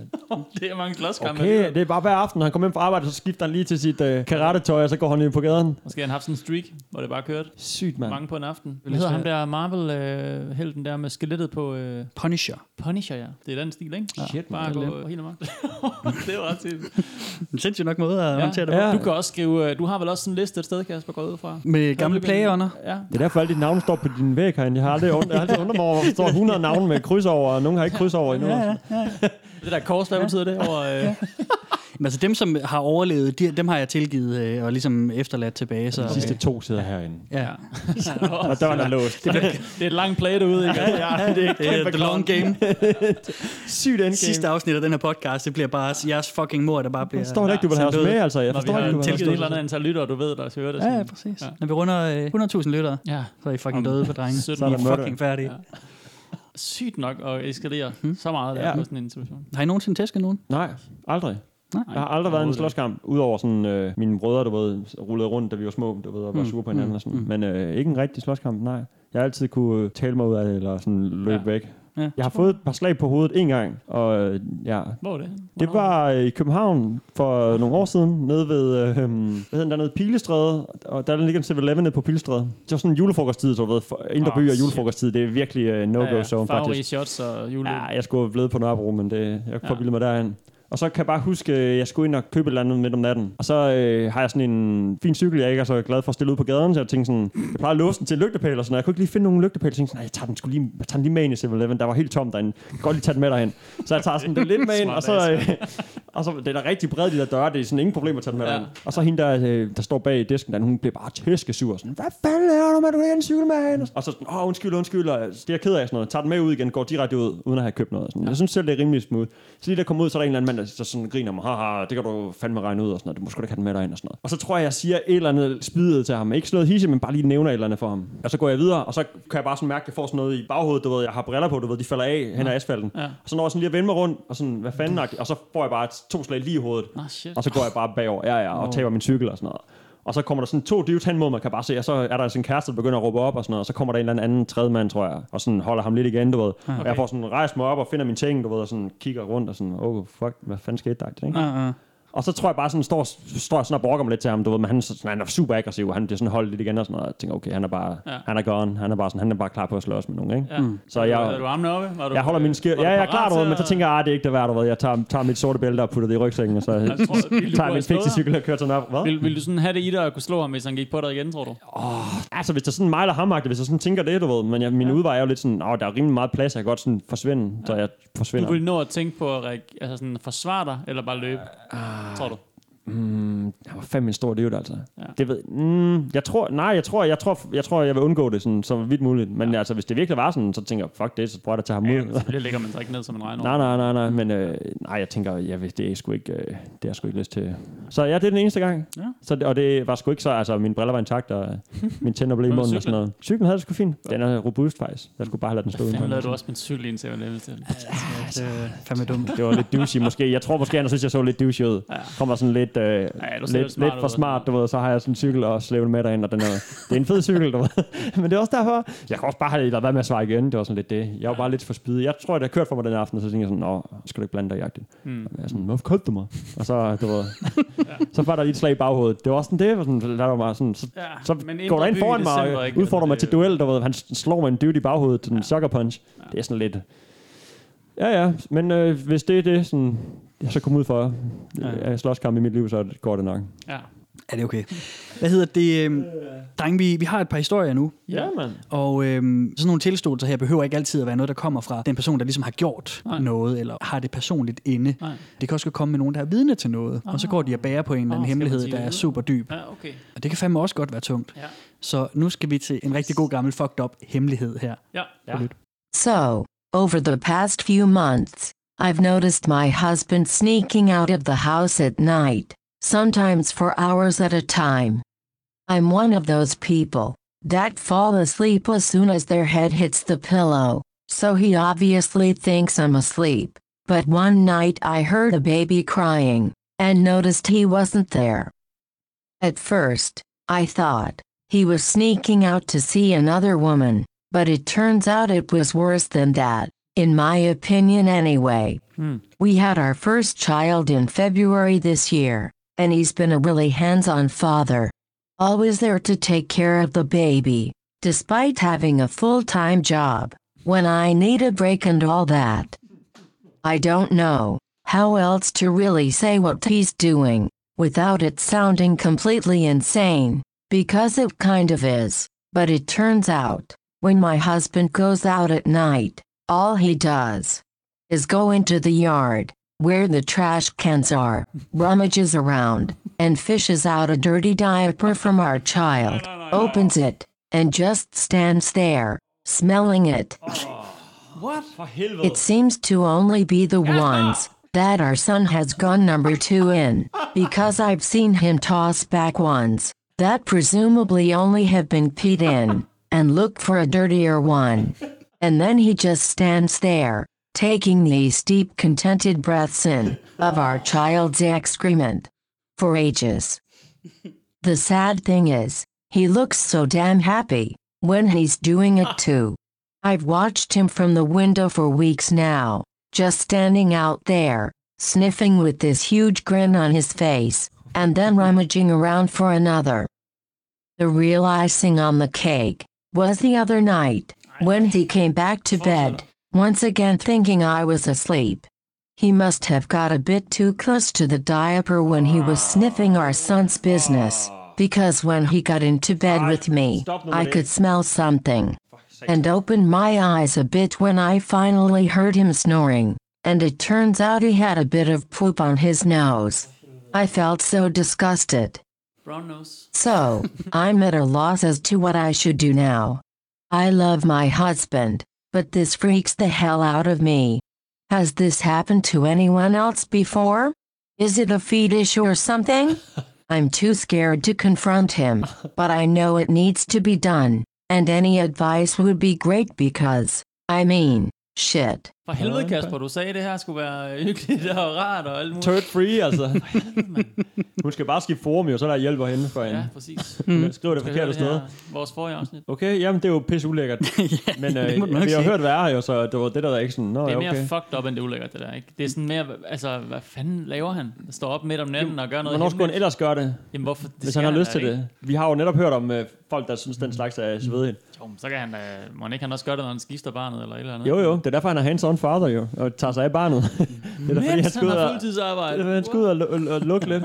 Speaker 3: det er mange slåskampe.
Speaker 4: Okay, det er bare hver aften, når han kommer hjem fra arbejde, så skifter han lige til sit øh, karate-tøj, og så går han ind på gaden.
Speaker 3: Måske han har haft sådan en streak, hvor det bare kørte.
Speaker 4: Sygt, mand.
Speaker 3: Mange på en aften. Hvad hedder ham der Marvel-helten der med skelettet på øh,
Speaker 5: Punisher.
Speaker 3: Punisher, ja? Det er den stil, ikke? Ja.
Speaker 4: Shit,
Speaker 3: Bare
Speaker 4: mand.
Speaker 3: gå øh, helt amok. det er ret tit.
Speaker 5: En sindssyg nok måde at ja. håndtere det på.
Speaker 4: Ja.
Speaker 3: Du kan også skrive... øh, Du har vel også sådan en liste et sted, Kasper, går jeg ud fra?
Speaker 5: Med gamle plageånder.
Speaker 3: Ja.
Speaker 4: Det er derfor, alle dit navne står på din væg herinde. Jeg har aldrig, und- jeg har aldrig undret mig over, hvorfor der står 100 navne med kryds over, og nogen har ikke kryds over endnu. Ja, ja.
Speaker 3: Det der kors, hvad betyder det? Over, øh,
Speaker 5: Men altså dem, som har overlevet, de, dem har jeg tilgivet øh, og ligesom efterladt tilbage. Så,
Speaker 4: De sidste to sidder herinde.
Speaker 5: Ja.
Speaker 4: Og døren er låst. Det er
Speaker 3: det er et langt play derude, ikke?
Speaker 4: ja, det er
Speaker 5: Det er the long game.
Speaker 4: sygt endgame.
Speaker 5: Sidste afsnit af den her podcast, det bliver bare jeres fucking mor, der bare bliver...
Speaker 4: Jeg forstår heller ikke, du vil have
Speaker 5: sendt
Speaker 4: os
Speaker 5: ud.
Speaker 4: med, altså. Jeg
Speaker 3: Når vi
Speaker 4: forstår
Speaker 3: har
Speaker 4: ikke, du vil
Speaker 3: tilgivet et
Speaker 4: have
Speaker 3: eller
Speaker 4: os
Speaker 3: andet
Speaker 4: med.
Speaker 3: antal lyttere, du ved, der skal høre det.
Speaker 5: Ja, ja,
Speaker 3: Sådan.
Speaker 5: præcis.
Speaker 3: Ja.
Speaker 5: Når vi runder øh, 100.000 lyttere,
Speaker 3: Ja.
Speaker 5: så er I fucking
Speaker 3: Om
Speaker 5: døde for drenge.
Speaker 3: 17
Speaker 5: Så er I
Speaker 4: murder.
Speaker 5: fucking færdige.
Speaker 3: Ja. Sygt nok at eskalere så meget der
Speaker 4: Hmm. Ja.
Speaker 3: på sådan en situation.
Speaker 5: Har I nogensinde tæsket nogen?
Speaker 4: Nej, aldrig.
Speaker 5: Nej.
Speaker 4: Jeg har aldrig været i en slåskamp, udover sådan øh, mine brødre, du ved, rullede rundt, da vi var små, du ved, og var
Speaker 3: Mm,
Speaker 4: sure på hinanden og sådan. Men øh, ikke en rigtig slåskamp, nej. Jeg har altid kunne øh, tale mig ud af det, eller sådan løbe
Speaker 3: Ja.
Speaker 4: væk.
Speaker 5: Ja.
Speaker 4: Jeg har fået et par slag på hovedet en gang, og øh, ja,
Speaker 3: Hvor er det? Hvornår?
Speaker 4: det var øh, i København for nogle år siden, nede ved, øh, øhm, hvad hedder den dernede, Pilestræde, og der ligger en 7-Eleven nede på Pilestræde. Det var sådan en julefrokosttid, så du ved, for- indre
Speaker 3: Ah,
Speaker 4: by og
Speaker 3: shit.
Speaker 4: julefrokosttid, det er virkelig øh, no-go-zone faktisk.
Speaker 3: Farverige shots og jule.
Speaker 4: Ja, jeg skulle have blevet på Nørrebro, men det, jeg kunne ja. mig derhen. Og så kan jeg bare huske, øh, jeg skulle ind og købe et eller andet midt om natten. Og så øh, har jeg sådan en fin cykel, jeg ikke er så glad for at stille ud på gaden. Så jeg tænkte sådan, jeg plejer at låse den til lygtepæl og sådan noget. Jeg kunne ikke lige finde nogen lygtepæl. Så tænkte jeg sådan, "Ej, jeg tager den, sgu lige, jeg tager den lige med ind i 7-Eleven. Der var helt tom derinde. Jeg kan godt lige tage den med derhen. Så jeg tager sådan det lidt med ind, og så, øh, og så det er da rigtig bredt, de der døre. Det er sådan ingen problem at tage den med
Speaker 3: Ja.
Speaker 4: ja. derhen. Og så hende, der, øh, der står bag i disken, der, hun bliver bare tæskesur. Sådan, hvad fanden laver du, med du er en cykel med hende? Og så sådan, åh, undskyld, undskyld, og altså, det er jeg ked af, sådan noget. Tager den med ud igen, går direkte ud, uden at have købt noget. og Sådan. Jeg synes selv, det er rimelig smooth. Så lige der kommer ud, så er der en eller anden mand, der så sådan griner mig, haha, det kan du fandme regne ud, og sådan noget. Du må sgu da ikke have den med derhen, og sådan noget. Og så tror jeg, jeg siger et eller andet spidet til ham. Ikke sådan noget hisse, men bare lige nævner et eller andet for ham. Og så går jeg videre, og så kan jeg bare sådan mærke, at jeg får sådan noget i baghovedet, du ved, jeg har briller på, du ved, de falder af hen ad asfalten.
Speaker 3: Ja.
Speaker 4: Og så når jeg sådan lige at vende mig rundt, og sådan, hvad fanden, og så får jeg bare et- to slag lige i hovedet.
Speaker 3: Ah, shit.
Speaker 4: Og så går jeg bare bagover, ja, ja, og taber min cykel og sådan noget. Og så kommer der sådan to dudes hen mod mig, kan jeg bare se, og så er der sådan en kæreste, der begynder at råbe op og sådan noget, og så kommer der en eller anden, anden tredje mand, tror jeg, og sådan holder ham lidt igen, du ved.
Speaker 3: Ah.
Speaker 4: Okay. Og jeg får sådan rejst mig op og finder min ting, du ved, og sådan kigger rundt og sådan, oh fuck, hvad fanden skete der? egentlig, Ikke?
Speaker 3: Ah,
Speaker 5: Uh-uh.
Speaker 4: Og så tror jeg bare sådan, står, står jeg sådan og brokker mig lidt til ham, du ved, men han, er sådan, han er super aggressiv, og han bliver sådan holdt lidt igen og sådan noget, og jeg tænker, okay, han er bare,
Speaker 3: Ja.
Speaker 4: ja. han er gone, han er bare sådan, han er bare klar på at slås med nogen, ikke?
Speaker 3: Ja. Mm.
Speaker 4: Så jeg,
Speaker 3: Var du armene oppe? Var du,
Speaker 4: jeg holder min skir.
Speaker 3: var
Speaker 4: Ja, jeg er
Speaker 3: parat
Speaker 4: klar, du ved,
Speaker 3: til
Speaker 4: men så
Speaker 3: at-
Speaker 4: tænker jeg, ah, det er ikke det værd, du ved. Jeg tager, tager mit sorte bælte og putter det i rygsækken, og så
Speaker 3: Altså, tror, at Billy
Speaker 4: tager jeg
Speaker 3: Boy
Speaker 4: min
Speaker 3: er større.
Speaker 4: pixie-cykel og kører til op. Hvad?
Speaker 3: Vil, vil du sådan have det i dig og kunne slå ham, hvis han gik på dig igen, tror du?
Speaker 4: Altså, hvis der sådan mig eller ham hvis jeg sådan tænker det, du ved. Men jeg, min ja. udvej er jo lidt sådan, åh, der er rimelig meget plads, jeg kan godt sådan forsvinde, så jeg forsvinder.
Speaker 3: Du vil nå at tænke på at reag- altså sådan, forsvare dig, eller bare løbe,
Speaker 4: Ah,
Speaker 3: tror du?
Speaker 4: Jeg Mm, var fandme en stor livet, altså.
Speaker 3: Ja.
Speaker 4: Ja. Det ved, mm, jeg tror, nej, jeg tror, jeg tror, jeg tror, jeg vil undgå det sådan, så vidt muligt. Men ja. altså, hvis det virkelig var sådan, så tænker jeg, fuck det, så prøver jeg at tage ham ud.
Speaker 3: Ja, det ligger man sig ikke ned som en regn
Speaker 4: Nej, nej, nej, nej, men øh, nej, jeg tænker, ja, hvis det er sgu ikke, øh, det har jeg sgu ikke lyst til. Så ja, det er den eneste gang. Ja. Så, det- og det var sgu ikke så, altså mine briller var intakt, og min tænder blev i
Speaker 3: Hvad
Speaker 4: munden
Speaker 3: med
Speaker 4: og sådan
Speaker 3: cyklen?
Speaker 4: noget. Cyklen havde det sgu fint. Den er robust faktisk. Jeg skulle bare have ladet den stå
Speaker 3: Fanden lavede du
Speaker 4: udenfor.
Speaker 3: også min cykel i en 7-Eleven til. altså,
Speaker 5: Det er øh, fandme dumt.
Speaker 4: Det var lidt douchey måske. Jeg tror måske, han synes, jeg så lidt douchey ud. Kommer sådan lidt, øh, ja,
Speaker 3: ser lidt
Speaker 4: lidt, lidt,
Speaker 3: smart
Speaker 4: lidt for
Speaker 3: ud altså. og sådan
Speaker 4: smart, du ved. Så har jeg sådan en cykel og slæver med derind, og den er, det er en fed cykel, du ved. Men det er også derfor, jeg kan også bare have lavet være med at svare igen. Det var sådan lidt det. Jeg var bare lidt for spydig. Jeg tror, det har kørt for mig den aften, og så tænkte jeg sådan, nå, skal du ikke blande dig i agtigt.
Speaker 3: Hmm.
Speaker 4: Mm. Og jeg er sådan, hvorfor købte du mig? Og så, du ved, så var der lige et slag i baghovedet. Det var også sådan det, var sådan, der var meget sådan, så,
Speaker 3: Ja,
Speaker 4: ja, så
Speaker 3: men
Speaker 4: går
Speaker 3: Indre
Speaker 4: der ind
Speaker 3: By i
Speaker 4: foran mig
Speaker 3: december,
Speaker 4: og
Speaker 3: ikke?
Speaker 4: udfordrer mig
Speaker 3: Altså,
Speaker 4: til
Speaker 3: det-
Speaker 4: duel, du ved, han slår mig en dude i baghovedet, sådan en sucker punch. Det er sådan lidt, Ja, ja, men øh, hvis det er det, sådan, jeg så kom ud for ja. slåskamp i mit liv, så går det nok.
Speaker 3: Ja.
Speaker 5: Er det okay? Hvad hedder det? øhm, Drenge, vi, vi har et par historier nu.
Speaker 4: Ja, mand.
Speaker 5: Og øhm, sådan nogle tilståelser her behøver ikke altid at være noget, der kommer fra den person, der ligesom har gjort
Speaker 3: Nej.
Speaker 5: Nej. noget, eller har det personligt inde.
Speaker 3: Nej.
Speaker 5: Nej. Det kan også godt komme med nogen, der er vidne til noget, og så går de og bærer på en eller
Speaker 3: Ah,
Speaker 5: anden
Speaker 3: skal man
Speaker 5: hemmelighed,
Speaker 3: sige
Speaker 5: der er
Speaker 3: det?
Speaker 5: super dyb.
Speaker 3: Ja, okay.
Speaker 5: Og det kan fandme også godt være tungt.
Speaker 3: Ja.
Speaker 5: Så nu skal vi til en rigtig god gammel fucked up hemmelighed her.
Speaker 3: Ja.
Speaker 4: Ja.
Speaker 8: So, over the past few months, I've noticed my husband sneaking out of the house at night, sometimes for hours at a time. I'm one of those people that fall asleep as soon as their head hits the pillow, so he obviously thinks I'm asleep. But one night I heard a baby crying, and noticed he wasn't there. At first, I thought he was sneaking out to see another woman, but it turns out it was worse than that, in my opinion, anyway. We had our first child in February this year, and he's been a really hands on father. Always there to take care of the baby, despite having a full time job, when I need a break and all that. I don't know how else to really say what he's doing without it sounding completely insane, because it kind of is. But it turns out, when my husband goes out at night, all he does is go into the yard, where the trash cans are, rummages around, and fishes out a dirty diaper from our child, opens it, and just stands there, smelling it.
Speaker 4: For helvede.
Speaker 8: It seems to only be the ones that our son has gone number two in, because I've seen him toss back ones that presumably only have been peed in, and look for a dirtier one. And then he just stands there, taking these deep, contented breaths in of our child's excrement for ages. The sad thing is, he looks so damn happy when he's doing it too. I've watched him from the window for weeks now, just standing out there, sniffing with this huge grin on his face, and then rummaging around for another. The real icing on the cake was the other night when he came back to bed, once again thinking I was asleep. He must have got a bit too close to the diaper when he was sniffing our son's business, because when he got into bed with me,
Speaker 4: stop nu med
Speaker 8: I
Speaker 4: det.
Speaker 8: could smell something and opened my eyes a bit when I finally heard him snoring, and it turns out he had a bit of poop on his nose. I felt so disgusted.
Speaker 3: Brown nose.
Speaker 8: So, I'm at a loss as to what I should do now. I love my husband, but this freaks the hell out of me. Has this happened to anyone else before? Is it a fetish or something? I'm too scared to confront him, but I know it needs to be done, and any advice would be great because, I mean, shit.
Speaker 3: For helvede, Kasper, du sagde, det her skulle være hyggeligt og rart og alt muligt.
Speaker 4: Turd free, altså. Hun skal bare skifte forum, jo, så er der hjælper hende for hende.
Speaker 3: Ja, præcis.
Speaker 5: Mm.
Speaker 4: Ja. Skriv det forkert
Speaker 3: Forkert
Speaker 4: og sådan noget.
Speaker 3: Vores forrige afsnit.
Speaker 4: Okay, jamen det er jo pisse ulækkert. Men
Speaker 5: det må man
Speaker 4: øh,
Speaker 5: nok
Speaker 4: vi har
Speaker 5: sige.
Speaker 4: hørt værre jo, så det var det, der er ikke sådan, nå
Speaker 3: Det
Speaker 4: ja,
Speaker 3: er mere
Speaker 4: okay.
Speaker 3: okay. fucked up, end det er ulækkert, det der. Ikke? Det er sådan mere, altså, hvad fanden laver han? Han Står op midt om natten og gør noget
Speaker 4: Hvornår skulle han
Speaker 3: hemmeligt.
Speaker 4: ellers gøre det,
Speaker 3: Jamen, hvorfor? Det
Speaker 4: hvis
Speaker 3: skal
Speaker 4: han har lyst
Speaker 3: da
Speaker 4: til
Speaker 3: ikke.
Speaker 4: det? Vi har jo netop hørt om øh, folk, der synes, den slags er svedigt.
Speaker 3: Jo, men så kan han da... Må han ikke han også gøre det, når han skifter barnet eller et eller andet?
Speaker 4: Jo jo, det er derfor, han er hands-on father jo, og tager sig af barnet. det er da, fordi
Speaker 3: Mens
Speaker 4: han
Speaker 3: han
Speaker 4: skal ud
Speaker 3: har
Speaker 4: og,
Speaker 3: fuldtidsarbejde.
Speaker 4: det er, fordi han skal ud og, lu- og lukke lidt.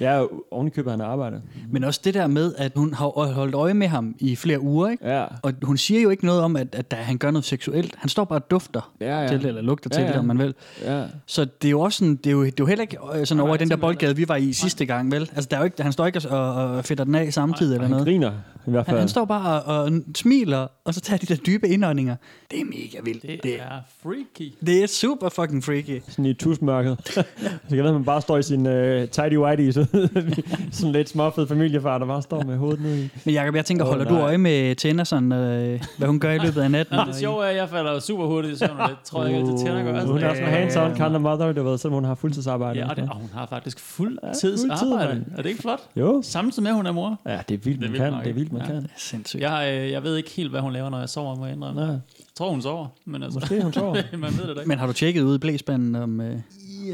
Speaker 4: Ja, oven i købet, han arbejder.
Speaker 5: Men også det der med, at hun har holdt øje med ham i flere uger, ikke?
Speaker 4: Ja.
Speaker 5: Og hun siger jo ikke noget om, at, at der, han gør noget seksuelt. Han står bare og dufter
Speaker 4: Ja, ja.
Speaker 5: til det, eller lugter til
Speaker 4: Ja,
Speaker 5: det,
Speaker 4: ja.
Speaker 5: om man vil.
Speaker 4: Ja.
Speaker 5: Så det er jo også sådan, det er jo, det er jo heller ikke øh, sådan over i den der
Speaker 3: simpelthen
Speaker 5: boldgade, vi var i sidste gang, vel? Altså, der er jo ikke, han står ikke og, og fedter den af samtidig eller
Speaker 4: Han
Speaker 5: noget.
Speaker 4: griner i hvert
Speaker 5: Han,
Speaker 4: fald.
Speaker 5: han står bare og, og smiler, og så tager de der dybe indåndinger. Det er mega vildt.
Speaker 3: Det,
Speaker 5: Det,
Speaker 3: er freaky.
Speaker 5: det er super fucking freaky.
Speaker 4: sådan i tusmørket. så kan jeg ved, at man bare står i sin øh, tidy whitey, så sådan lidt småfed familiefar, der bare står med hovedet nede i.
Speaker 5: Men Jacob, jeg tænker,
Speaker 4: Åh,
Speaker 5: holder du
Speaker 4: nej.
Speaker 5: øje med Tænder sådan, øh, hvad hun gør i løbet af natten?
Speaker 3: Nå, det sjove er, at jeg falder super hurtigt i søvn, og det tror jeg ikke altid tænder gør.
Speaker 4: Uh, hun er også en hands-on kind of mother, det ved, selvom hun har fuldtidsarbejde.
Speaker 3: Altså, Ja, og, det,
Speaker 4: ikke?
Speaker 3: og hun har faktisk
Speaker 4: fuldtid,
Speaker 3: fuldtidsarbejde.
Speaker 4: mand.
Speaker 3: Er det ikke flot?
Speaker 4: Jo.
Speaker 3: Samtidig med, at hun er mor.
Speaker 4: Ja, det er vildt,
Speaker 3: Det er
Speaker 4: man
Speaker 3: vildt
Speaker 4: kan.
Speaker 3: nok,
Speaker 4: Det er vildt, man
Speaker 3: ikke?
Speaker 4: kan.
Speaker 5: Det er sindssygt. Ja.
Speaker 3: Jeg, øh, jeg ved ikke helt, hvad hun laver, når jeg sover, må jeg indrømme.
Speaker 4: Nej.
Speaker 3: Jeg tror, hun sover, men altså...
Speaker 4: Måske hun sover.
Speaker 3: man ved det da ikke.
Speaker 5: Men har du tjekket ude i blæspanden, om, øh,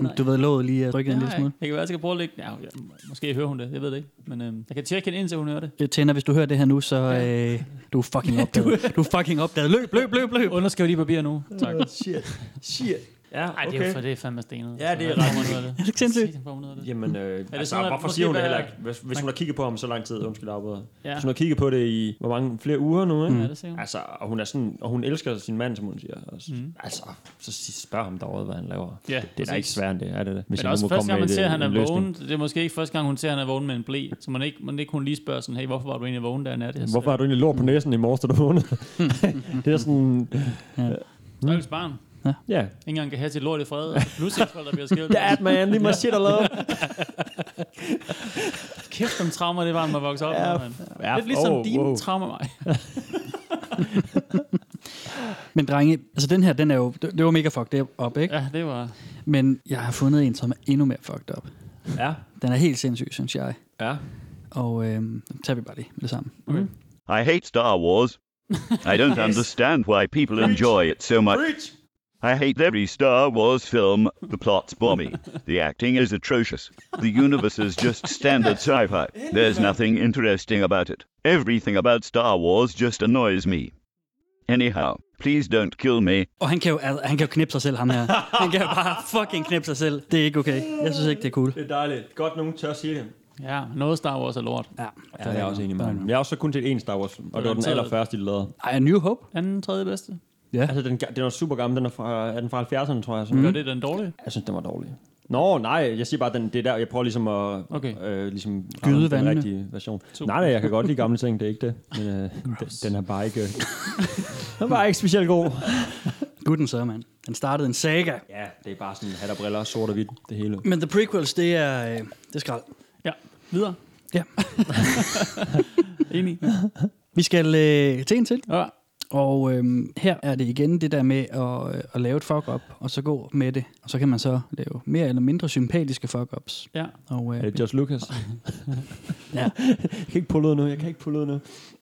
Speaker 5: om du ved, låget lige er rykket en lille
Speaker 3: Nej,
Speaker 5: smule?
Speaker 3: Det kan være, at jeg skal prøve at lægge... Ja, ja, måske hører hun det, jeg ved det ikke. Men øh, jeg kan tjekke hende, indtil hun hører det.
Speaker 5: Øh, Tænder, hvis du hører det her nu, så øh, du er fucking opdaget. du er fucking opdaget. Løb, løb, løb, løb.
Speaker 3: Underskriv de papirer nu. Tak.
Speaker 4: Shit. Shit. Ja,
Speaker 3: Ej, det er jo for det er fandme stenet. Altså,
Speaker 4: Ja, det er
Speaker 3: ret. Det
Speaker 5: Det er sindssygt.
Speaker 3: sindssygt.
Speaker 4: Jamen, øh, altså,
Speaker 3: sådan, at
Speaker 4: hvorfor
Speaker 3: måske
Speaker 4: siger hun det
Speaker 3: hvad-
Speaker 4: heller ikke? Hvis, hvis hun har kigget på ham så lang tid, undskyld afbryder.
Speaker 3: Ja.
Speaker 4: Hvis hun har kigget på det i, hvor mange, flere uger nu, ikke?
Speaker 3: Ja, det ser hun.
Speaker 4: Altså, og hun, er sådan, og hun elsker sin mand, som hun siger. Og, mm. Altså, så sig- spørg ham derovre, hvad han laver.
Speaker 3: Ja,
Speaker 4: det, det er da
Speaker 3: præcis.
Speaker 4: ikke svært, end det er det. da, Hvis
Speaker 3: Men
Speaker 4: jeg nu
Speaker 3: også
Speaker 4: må
Speaker 3: første
Speaker 4: komme
Speaker 3: gang,
Speaker 4: med
Speaker 3: man
Speaker 4: et,
Speaker 3: ser,
Speaker 4: øh,
Speaker 3: at han
Speaker 4: en
Speaker 3: er
Speaker 4: løsning.
Speaker 3: vågen. Det er måske ikke første gang, hun ser, at han er vågen med en blæ. Så man ikke, man ikke hun lige spørger sådan, hey, hvorfor var du egentlig vågen der nat? Jeg
Speaker 4: Hvorfor har du egentlig
Speaker 3: Mm.
Speaker 4: lort på næsen i morges, da du vågnede? det er sådan...
Speaker 3: Stakkels barn.
Speaker 4: Ja, yeah.
Speaker 3: Ingen engang kan have sit lort i fred. og Pludselig er der folk, der bliver skilt.
Speaker 4: Dad, man, leave my shit alone.
Speaker 3: kæft, de traumer, det var, når man voksede op.
Speaker 4: Ja,
Speaker 3: Ja, man.
Speaker 4: ja,
Speaker 3: Lidt ligesom
Speaker 4: oh,
Speaker 3: dine
Speaker 4: wow.
Speaker 3: traumer, mig.
Speaker 5: Men drenge, altså den her, den er jo, det, det var mega fucked up, ikke?
Speaker 3: Ja, det var...
Speaker 5: Men jeg har fundet en, som er endnu mere fucked up.
Speaker 4: Ja.
Speaker 5: Den er helt sindssyg, synes jeg.
Speaker 4: Ja.
Speaker 5: Og øh, tager vi bare lige med det samme.
Speaker 3: Okay.
Speaker 10: I hate Star Wars. I don't understand why people enjoy it so much. I hate every Star Wars film. The plot's balmy. The acting is atrocious. The universe is just standard sci fi. There's nothing interesting about it. Everything about Star Wars just annoys me. Anyhow, please don't kill me.
Speaker 5: Og han kan, jo, altså, han kan jo knippe sig selv, ham her. Han kan jo bare fucking knippe sig selv. Det er ikke okay. Jeg synes ikke, det er cool.
Speaker 4: Det er dejligt. Godt, nogen tør sige det.
Speaker 3: Ja, noget Star Wars er lort.
Speaker 5: Ja,
Speaker 4: Ja, det er jeg også enig med. ham. Jeg har også kun set en Star Wars film, og det var den allerførste, de lavede.
Speaker 5: Ej, A New Hope.
Speaker 3: Anden, tredje bedste.
Speaker 4: Altså, den, ga- den var super gammel. Den er fra, er den fra 70'erne, tror jeg. Så.
Speaker 3: Gør
Speaker 4: Mm.
Speaker 3: det den dårlige?
Speaker 4: Jeg synes, den var dårlig. Nå, nej, jeg siger bare, den, det er der, jeg prøver ligesom at
Speaker 3: Okay.
Speaker 4: øh, ligesom
Speaker 5: Gyde
Speaker 4: ramme den
Speaker 5: vandene.
Speaker 4: rigtige version. Nej, nej, jeg kan godt lide gamle ting, det er ikke det. Men øh, den, den, er bare ikke, øh, den er bare ikke specielt god.
Speaker 5: Gutten så, mand. Han startede en saga.
Speaker 4: Ja, det er bare sådan hat og briller, sort og hvidt, det hele.
Speaker 5: Men The Prequels, det er, øh, det er skrald.
Speaker 3: Ja, videre.
Speaker 5: Ja.
Speaker 3: Enig.
Speaker 5: Vi skal øh, til en til.
Speaker 3: Ja.
Speaker 5: Og øhm, her er det igen det der med at, øh, at lave et fuck-up, og så gå med det. Og så kan man så lave mere eller mindre sympatiske fuck-ups.
Speaker 3: ja.
Speaker 5: Og,
Speaker 4: Er
Speaker 5: øh,
Speaker 4: det Josh Lucas?
Speaker 5: Ja.
Speaker 4: Jeg kan ikke pulle ud nu, jeg kan ikke pulle ud nu.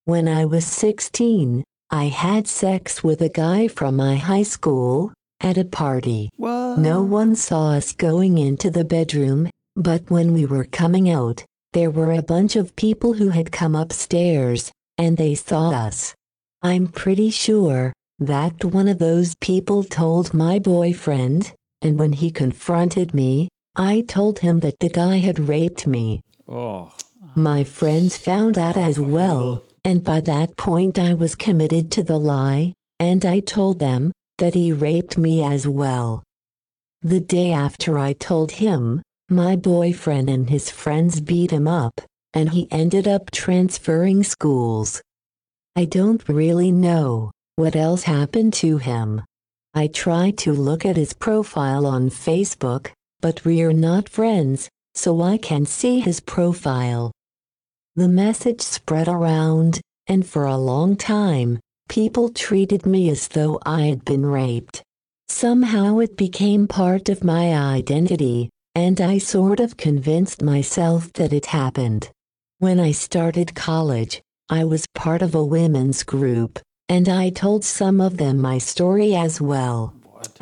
Speaker 11: When I was 16, I had sex with a guy from my high school at a party. No one saw us going into the bedroom, but when we were coming out, there were a bunch of people who had come upstairs, and they saw us. I'm pretty sure that one of those people told my boyfriend, and when he confronted me, I told him that the guy had raped me.
Speaker 4: Åh, oh,
Speaker 11: My friends found out as well, and by that point I was committed to the lie, and I told them that he raped me as well. The day after I told him, my boyfriend and his friends beat him up, and he ended up transferring schools. I don't really know what else happened to him. I tried to look at his profile on Facebook, but we're not friends, so I can see his profile. The message spread around, and for a long time, people treated me as though I had been raped. Somehow it became part of my identity, and I sort of convinced myself that it happened. When I started college, I was part of a women's group, and I told some of them my story as well.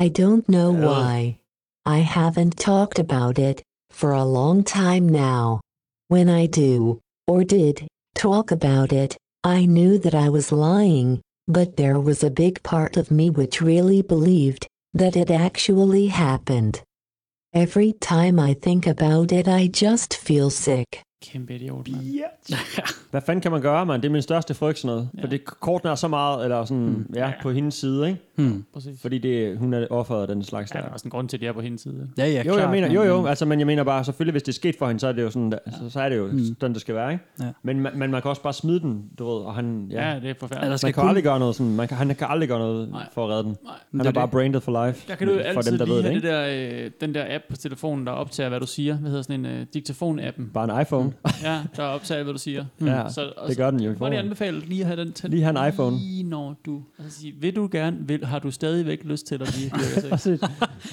Speaker 11: I don't know why. I haven't talked about it for a long time now. When I do, or did, talk about it, I knew that I was lying, but there was a big part of me which really believed that it actually happened. Every time I think about it, I just feel sick.
Speaker 3: Kæmpe idiot, mand.
Speaker 4: Hvad fanden kan man gøre, mand? Det er min største frygt, sådan noget. Ja. For det korten er så meget, eller sådan, mm. ja, på hendes side, ikke?
Speaker 5: hmm.
Speaker 3: Præcis.
Speaker 4: Fordi det, hun er offeret af den slags
Speaker 3: Ja,
Speaker 4: der.
Speaker 3: der er også en grund til, at de er på hendes side.
Speaker 5: Ja, ja, Mm.
Speaker 4: jo,
Speaker 5: klart,
Speaker 4: jeg mener,
Speaker 5: men-
Speaker 4: jo, jo, altså, men jeg mener bare, selvfølgelig, hvis det er sket for hende, så er det jo sådan, der, så, så er det jo mm. sådan, det skal være, ikke?
Speaker 5: Ja.
Speaker 4: Men, man, men man kan også bare smide den, du ved, og han, ja,
Speaker 3: Ja,
Speaker 4: ja
Speaker 3: det er
Speaker 5: Ja, der
Speaker 3: forfærdeligt.
Speaker 5: skal
Speaker 4: man kan
Speaker 5: kun-
Speaker 4: aldrig gøre noget sådan, man kan, han kan aldrig gøre noget Nej. for at redde den. Nej. Han
Speaker 5: det
Speaker 4: er,
Speaker 5: er
Speaker 4: bare
Speaker 5: det.
Speaker 4: branded for life,
Speaker 3: Der kan du jo altid
Speaker 4: for dem, der
Speaker 3: lige
Speaker 4: ved det,
Speaker 3: have
Speaker 4: ikke?
Speaker 3: det der, øh, den der app på telefonen, der optager, hvad du siger. Hvad hedder sådan en øh, diktafon-appen?
Speaker 4: Bare en iPhone.
Speaker 5: Mm.
Speaker 3: Ja, der optager, hvad du siger.
Speaker 4: ja,
Speaker 3: Så- og
Speaker 4: det
Speaker 3: så-
Speaker 4: gør den jo i
Speaker 3: Må jeg
Speaker 4: forvejen.
Speaker 3: anbefale lige at have den til?
Speaker 4: Lige have en iPhone.
Speaker 3: Lige når du... Altså sige, vil du gerne... Vil, har du stadigvæk lyst til at blive sex?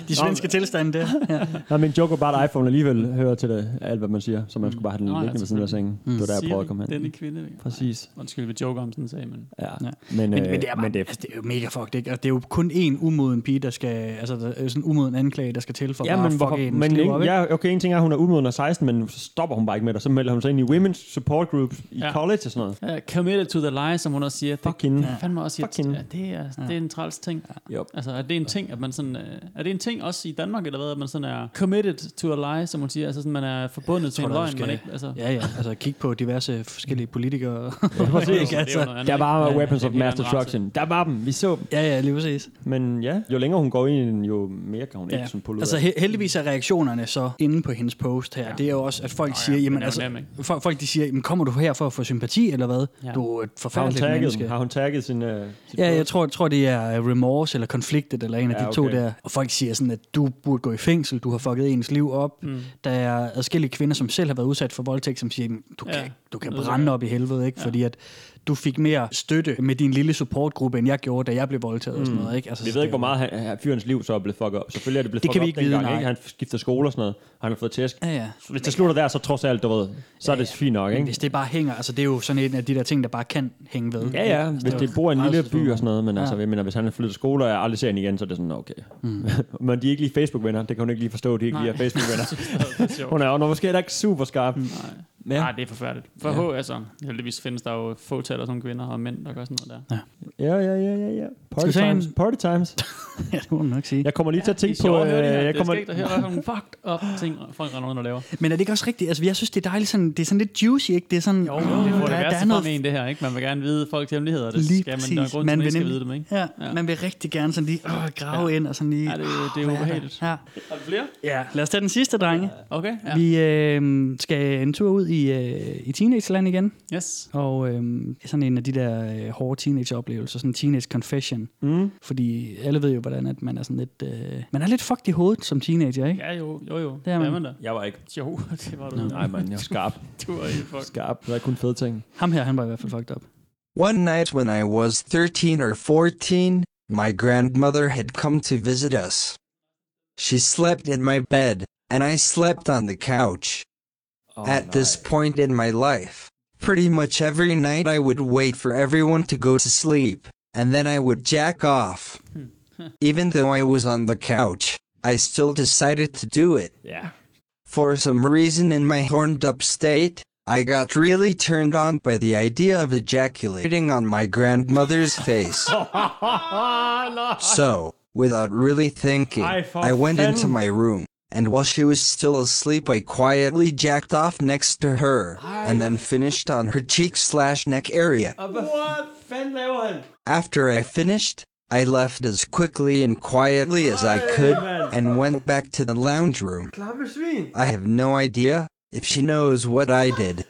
Speaker 5: De svenske tilstande der. Ja.
Speaker 4: Nej, men joke var bare, at iPhone alligevel hører til det, alt, hvad man siger. Så man skulle bare have den
Speaker 3: Nå, ja,
Speaker 4: liggende ved siden af sengen.
Speaker 5: Mm.
Speaker 4: Det var der, jeg prøvede at komme hen.
Speaker 3: Denne kvinde. ikke?
Speaker 4: Præcis.
Speaker 3: Undskyld, vi joker om sådan en sag, men...
Speaker 4: Ja.
Speaker 5: Ja.
Speaker 4: Men,
Speaker 5: Men,
Speaker 4: øh,
Speaker 5: men, det er bare,
Speaker 4: men det,
Speaker 5: Altså, det er jo mega fucked, ikke? Altså, det er jo kun én umoden pige, der skal... Altså, der er jo sådan en umoden anklage, der skal til for
Speaker 4: Ja,
Speaker 5: bare
Speaker 4: men
Speaker 5: at
Speaker 4: hvorfor,
Speaker 5: fuck en
Speaker 4: men
Speaker 5: skrive
Speaker 4: ikke,
Speaker 5: op, ikke?
Speaker 4: ja, okay, en ting er, at hun er umoden og 16, men så stopper hun bare ikke med det. Så melder hun sig ind i women's support groups i
Speaker 3: Ja.
Speaker 4: college og sådan noget.
Speaker 3: Uh, committed to the lie, som hun også siger. Det
Speaker 4: Fuck hende.
Speaker 3: er fandme også
Speaker 4: Fuck hende.
Speaker 3: siger, ja, det, er, det er en træls ting.
Speaker 4: Ja.
Speaker 3: Altså, er det en ting, at man sådan... øh, Er det en ting også i Danmark, eller hvad, at man sådan er committed to a lie, som hun siger? Altså, sådan, man er forbundet til en
Speaker 5: tror da, du
Speaker 3: løgn,
Speaker 5: skal-
Speaker 3: man ikke... Altså,
Speaker 5: Ja, ja. Altså, kig på diverse forskellige politikere. Altså,
Speaker 4: Præcis. altså.
Speaker 3: det er jo noget andet,
Speaker 4: Der var
Speaker 3: ikke?
Speaker 4: ja, weapons
Speaker 3: det er
Speaker 4: of
Speaker 3: en helt
Speaker 4: mass
Speaker 3: anden race.
Speaker 4: destruction. Der var dem. Vi så dem.
Speaker 5: Ja, ja, lige præcis.
Speaker 4: Men ja, jo længere hun går ind, i den, jo mere kan hun ja.
Speaker 5: Ja.
Speaker 4: ikke sådan pulle ud
Speaker 5: Altså
Speaker 4: af.
Speaker 5: he- heldigvis er reaktionerne så inde på hendes post her. Ja. Det er jo også, at folk siger, jamen
Speaker 3: jo altså, nem, ikke?
Speaker 5: Folk, folk de siger, "Jamen, kommer du her for at få sympati, eller hvad?
Speaker 3: Ja.
Speaker 5: Ja. Du er et
Speaker 4: Har hun
Speaker 5: forfærdeligt
Speaker 4: tagget dem?
Speaker 5: menneske.
Speaker 4: Har hun tagget sin... Øh, sin
Speaker 5: Ja, jeg tror, tror, det er øh, remorse eller konfliktet eller en af
Speaker 4: Ja,
Speaker 5: de to
Speaker 4: okay.
Speaker 5: der. Og folk siger sådan, at du burde gå i fængsel, du har fucket ens liv op. Mm. Der er adskillige kvinder, som selv har været udsat for voldtægt, som siger, du kan,
Speaker 3: Ja,
Speaker 5: ja, du kan
Speaker 3: det ved
Speaker 5: brænde
Speaker 3: jeg.
Speaker 5: op i helvede, ikke? Ja. fordi at du fik mere støtte med din lille supportgruppe, end jeg gjorde, da jeg blev voldtaget og sådan noget. Ikke? Altså,
Speaker 4: Mm. Vi
Speaker 5: så
Speaker 4: ved
Speaker 5: det
Speaker 4: ikke, hvor meget han, han, fyrens liv så er blevet fucket op. Selvfølgelig er det blevet
Speaker 5: Det kan
Speaker 4: fucket
Speaker 5: vi
Speaker 4: op
Speaker 5: ikke
Speaker 4: dengang,
Speaker 5: vide, nej.
Speaker 4: ikke? Han skifter skole og sådan noget. Han har fået tæsk.
Speaker 5: Ja, ja.
Speaker 4: Hvis det slutter der, så trods alt, du ved, så er det fint nok,
Speaker 5: Men
Speaker 4: ikke?
Speaker 5: hvis det bare hænger, altså det er jo sådan en af de der ting, der bare kan hænge ved. Altså,
Speaker 4: Ja, ja, hvis
Speaker 5: det
Speaker 4: det
Speaker 5: var
Speaker 4: bor i en lille
Speaker 5: meget
Speaker 4: by og sådan noget, men
Speaker 5: Ja.
Speaker 4: altså, jeg mener, hvis han er flyttet skole, og jeg aldrig ser hende igen, så er det sådan, okay. men de er ikke lige Facebook-venner, det kan hun ikke lige forstå, de er ikke lige er Facebook-venner.
Speaker 3: det er sjovt.
Speaker 4: Hun er jo måske heller ikke super skarp.
Speaker 3: Ja.
Speaker 4: Ja.
Speaker 3: Nej, det er forfærdeligt. For ja. altså, heldigvis findes der jo få taler som kvinder og mænd, der gør sådan noget der.
Speaker 4: Ja, ja, ja, ja, ja. Party
Speaker 5: vi tage
Speaker 4: times,
Speaker 5: en-
Speaker 4: party times.
Speaker 5: ja, det må man nok sige.
Speaker 4: Jeg kommer lige til at
Speaker 3: Det er
Speaker 4: tænke på...
Speaker 3: sjovt at høre det
Speaker 4: øh,
Speaker 3: her.
Speaker 4: jeg
Speaker 3: Det er
Speaker 4: kommer,
Speaker 3: skægt at høre, hvad for nogle fucked up ting, folk render rundt og laver.
Speaker 5: Men er det ikke også rigtigt? Altså, jeg synes, det er dejligt sådan, det er sådan lidt juicy, ikke? Det er sådan, jo,
Speaker 3: Det får det
Speaker 5: der, der er
Speaker 3: værste frem
Speaker 5: noget
Speaker 3: en, det her, ikke? Man vil gerne vide folks hemmeligheder, og det
Speaker 5: Lige
Speaker 3: skal man, der er
Speaker 5: præcis.
Speaker 3: grund til, at man ikke skal
Speaker 5: nemlig-
Speaker 3: vide dem, ikke?
Speaker 5: Ja,
Speaker 3: Ja.
Speaker 5: ja, man vil rigtig gerne sådan lige åh, grave ja. ind og sådan lige...
Speaker 3: Ja, det,
Speaker 5: "Åh,
Speaker 3: det er jo
Speaker 5: hvad der?"
Speaker 3: ubehageligt.
Speaker 5: Ja.
Speaker 3: Har du flere?
Speaker 5: ja, lad os tage den sidste, drenge.
Speaker 3: Okay, ja.
Speaker 5: Ja. Vi øh, skal en tur ud i, øh, i teenageland igen,
Speaker 3: Yes.
Speaker 5: og øh, sådan en af de der øh, hårde teenageoplevelser, sådan en teenage confession.
Speaker 4: Mm.
Speaker 5: Fordi alle ved jo, hvordan at man er sådan lidt... Øh, man er lidt fucked i hovedet som teenager, ikke?
Speaker 3: Ja, jo, jo, jo.
Speaker 5: Det er man.
Speaker 3: man da.
Speaker 4: Jeg var ikke.
Speaker 3: Jo, det var du.
Speaker 4: Nej, man, jeg er skarp.
Speaker 3: Du var helt fuck.
Speaker 4: Skarp. Det er kun fede ting.
Speaker 5: Ham her, han var i hvert fald fucked up.
Speaker 12: One night when I was 13 or 14, my grandmother had come to visit us. She slept in my bed, and I slept on the couch.
Speaker 4: Oh,
Speaker 12: At this point in my life, pretty much every night I would wait for everyone to go to sleep, and then I would jack off. Even though I was on the couch, I still decided to do it.
Speaker 4: Ja.
Speaker 12: For some reason in my horned up state, I got really turned on by the idea of ejaculating on my grandmother's face. so, without really thinking,
Speaker 4: I
Speaker 12: I,
Speaker 4: for
Speaker 12: went
Speaker 4: fan-
Speaker 12: into my room, and while she was still asleep, I quietly jacked off next to her, and then finished on her cheek slash neck area.
Speaker 4: Um, What fanden laver han?
Speaker 12: After I finished, I left as quickly and quietly as I could and went back to the lounge room. I have no idea if she knows what I did.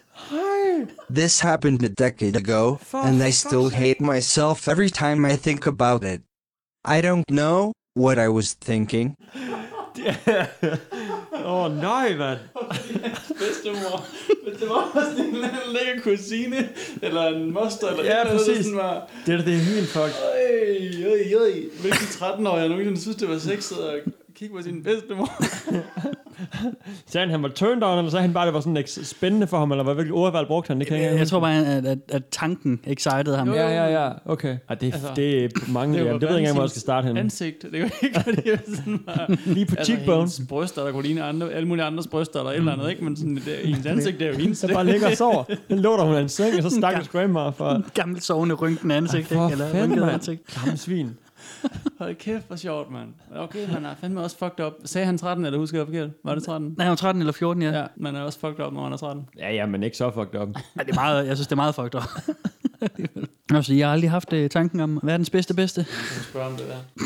Speaker 12: This happened a decade ago, and I still hate myself every time I think about it. I don't know what I was thinking.
Speaker 4: Åh, oh, nej, mand.
Speaker 3: Bedstemor. Hvis det var sådan en eller anden lækker kusine, eller en moster, eller
Speaker 4: Ja,
Speaker 3: et eller andet, der
Speaker 4: præcis.
Speaker 3: Sådan var,
Speaker 4: Det er det, er helt fucked.
Speaker 3: øj, øj, øj. Hvilken 13-årig, jeg nogensinde synes, det var sexet at kigge på sin bedstemor.
Speaker 4: Sagde han, han var turned on, eller sagde han bare, det var sådan ex- spændende for ham, eller var virkelig ordvalg brugte han? Det kan jeg ikke
Speaker 5: Jeg
Speaker 4: huske.
Speaker 5: tror bare, at, at, at tanken excited ham.
Speaker 4: Ja, ja, ja. Okay. Ah, det,
Speaker 3: Altså,
Speaker 4: altså, det er mange, det,
Speaker 3: var
Speaker 4: det ved jeg ikke engang, hvor jeg
Speaker 3: verdens
Speaker 4: skal starte henne.
Speaker 3: Ansigt, det kan ikke, fordi det var sådan var...
Speaker 4: Lige på cheekbone.
Speaker 3: hendes bryster, der kunne ligne andre, alle mulige andres bryster, eller et eller andet, ikke? Men sådan, det, er- hendes ansigt, det er jo hendes.
Speaker 4: Så bare ligger og sover. Den lå der, hun er en seng, og så stakkels grandma for...
Speaker 5: Gammel sovende rynken ansigt, ikke?
Speaker 4: For
Speaker 5: Eller
Speaker 4: fanden,
Speaker 5: rynket
Speaker 4: mand.
Speaker 5: ansigt.
Speaker 4: Klamme svin.
Speaker 3: Hold kæft, hvor sjovt, mand. Okay, man er fandme også fucked up. Sagde han 13, eller husker jeg forkert? Var det 13?
Speaker 5: Nej, han var 13 eller 14, ja. ja.
Speaker 3: Ja, man er også fucked up, når man er 13.
Speaker 4: Ja, ja, men ikke så fucked up.
Speaker 5: det er meget, jeg synes, det er meget fucked up. altså, jeg har aldrig haft øh, tanken om verdens bedste bedste.
Speaker 3: Spørg om det der.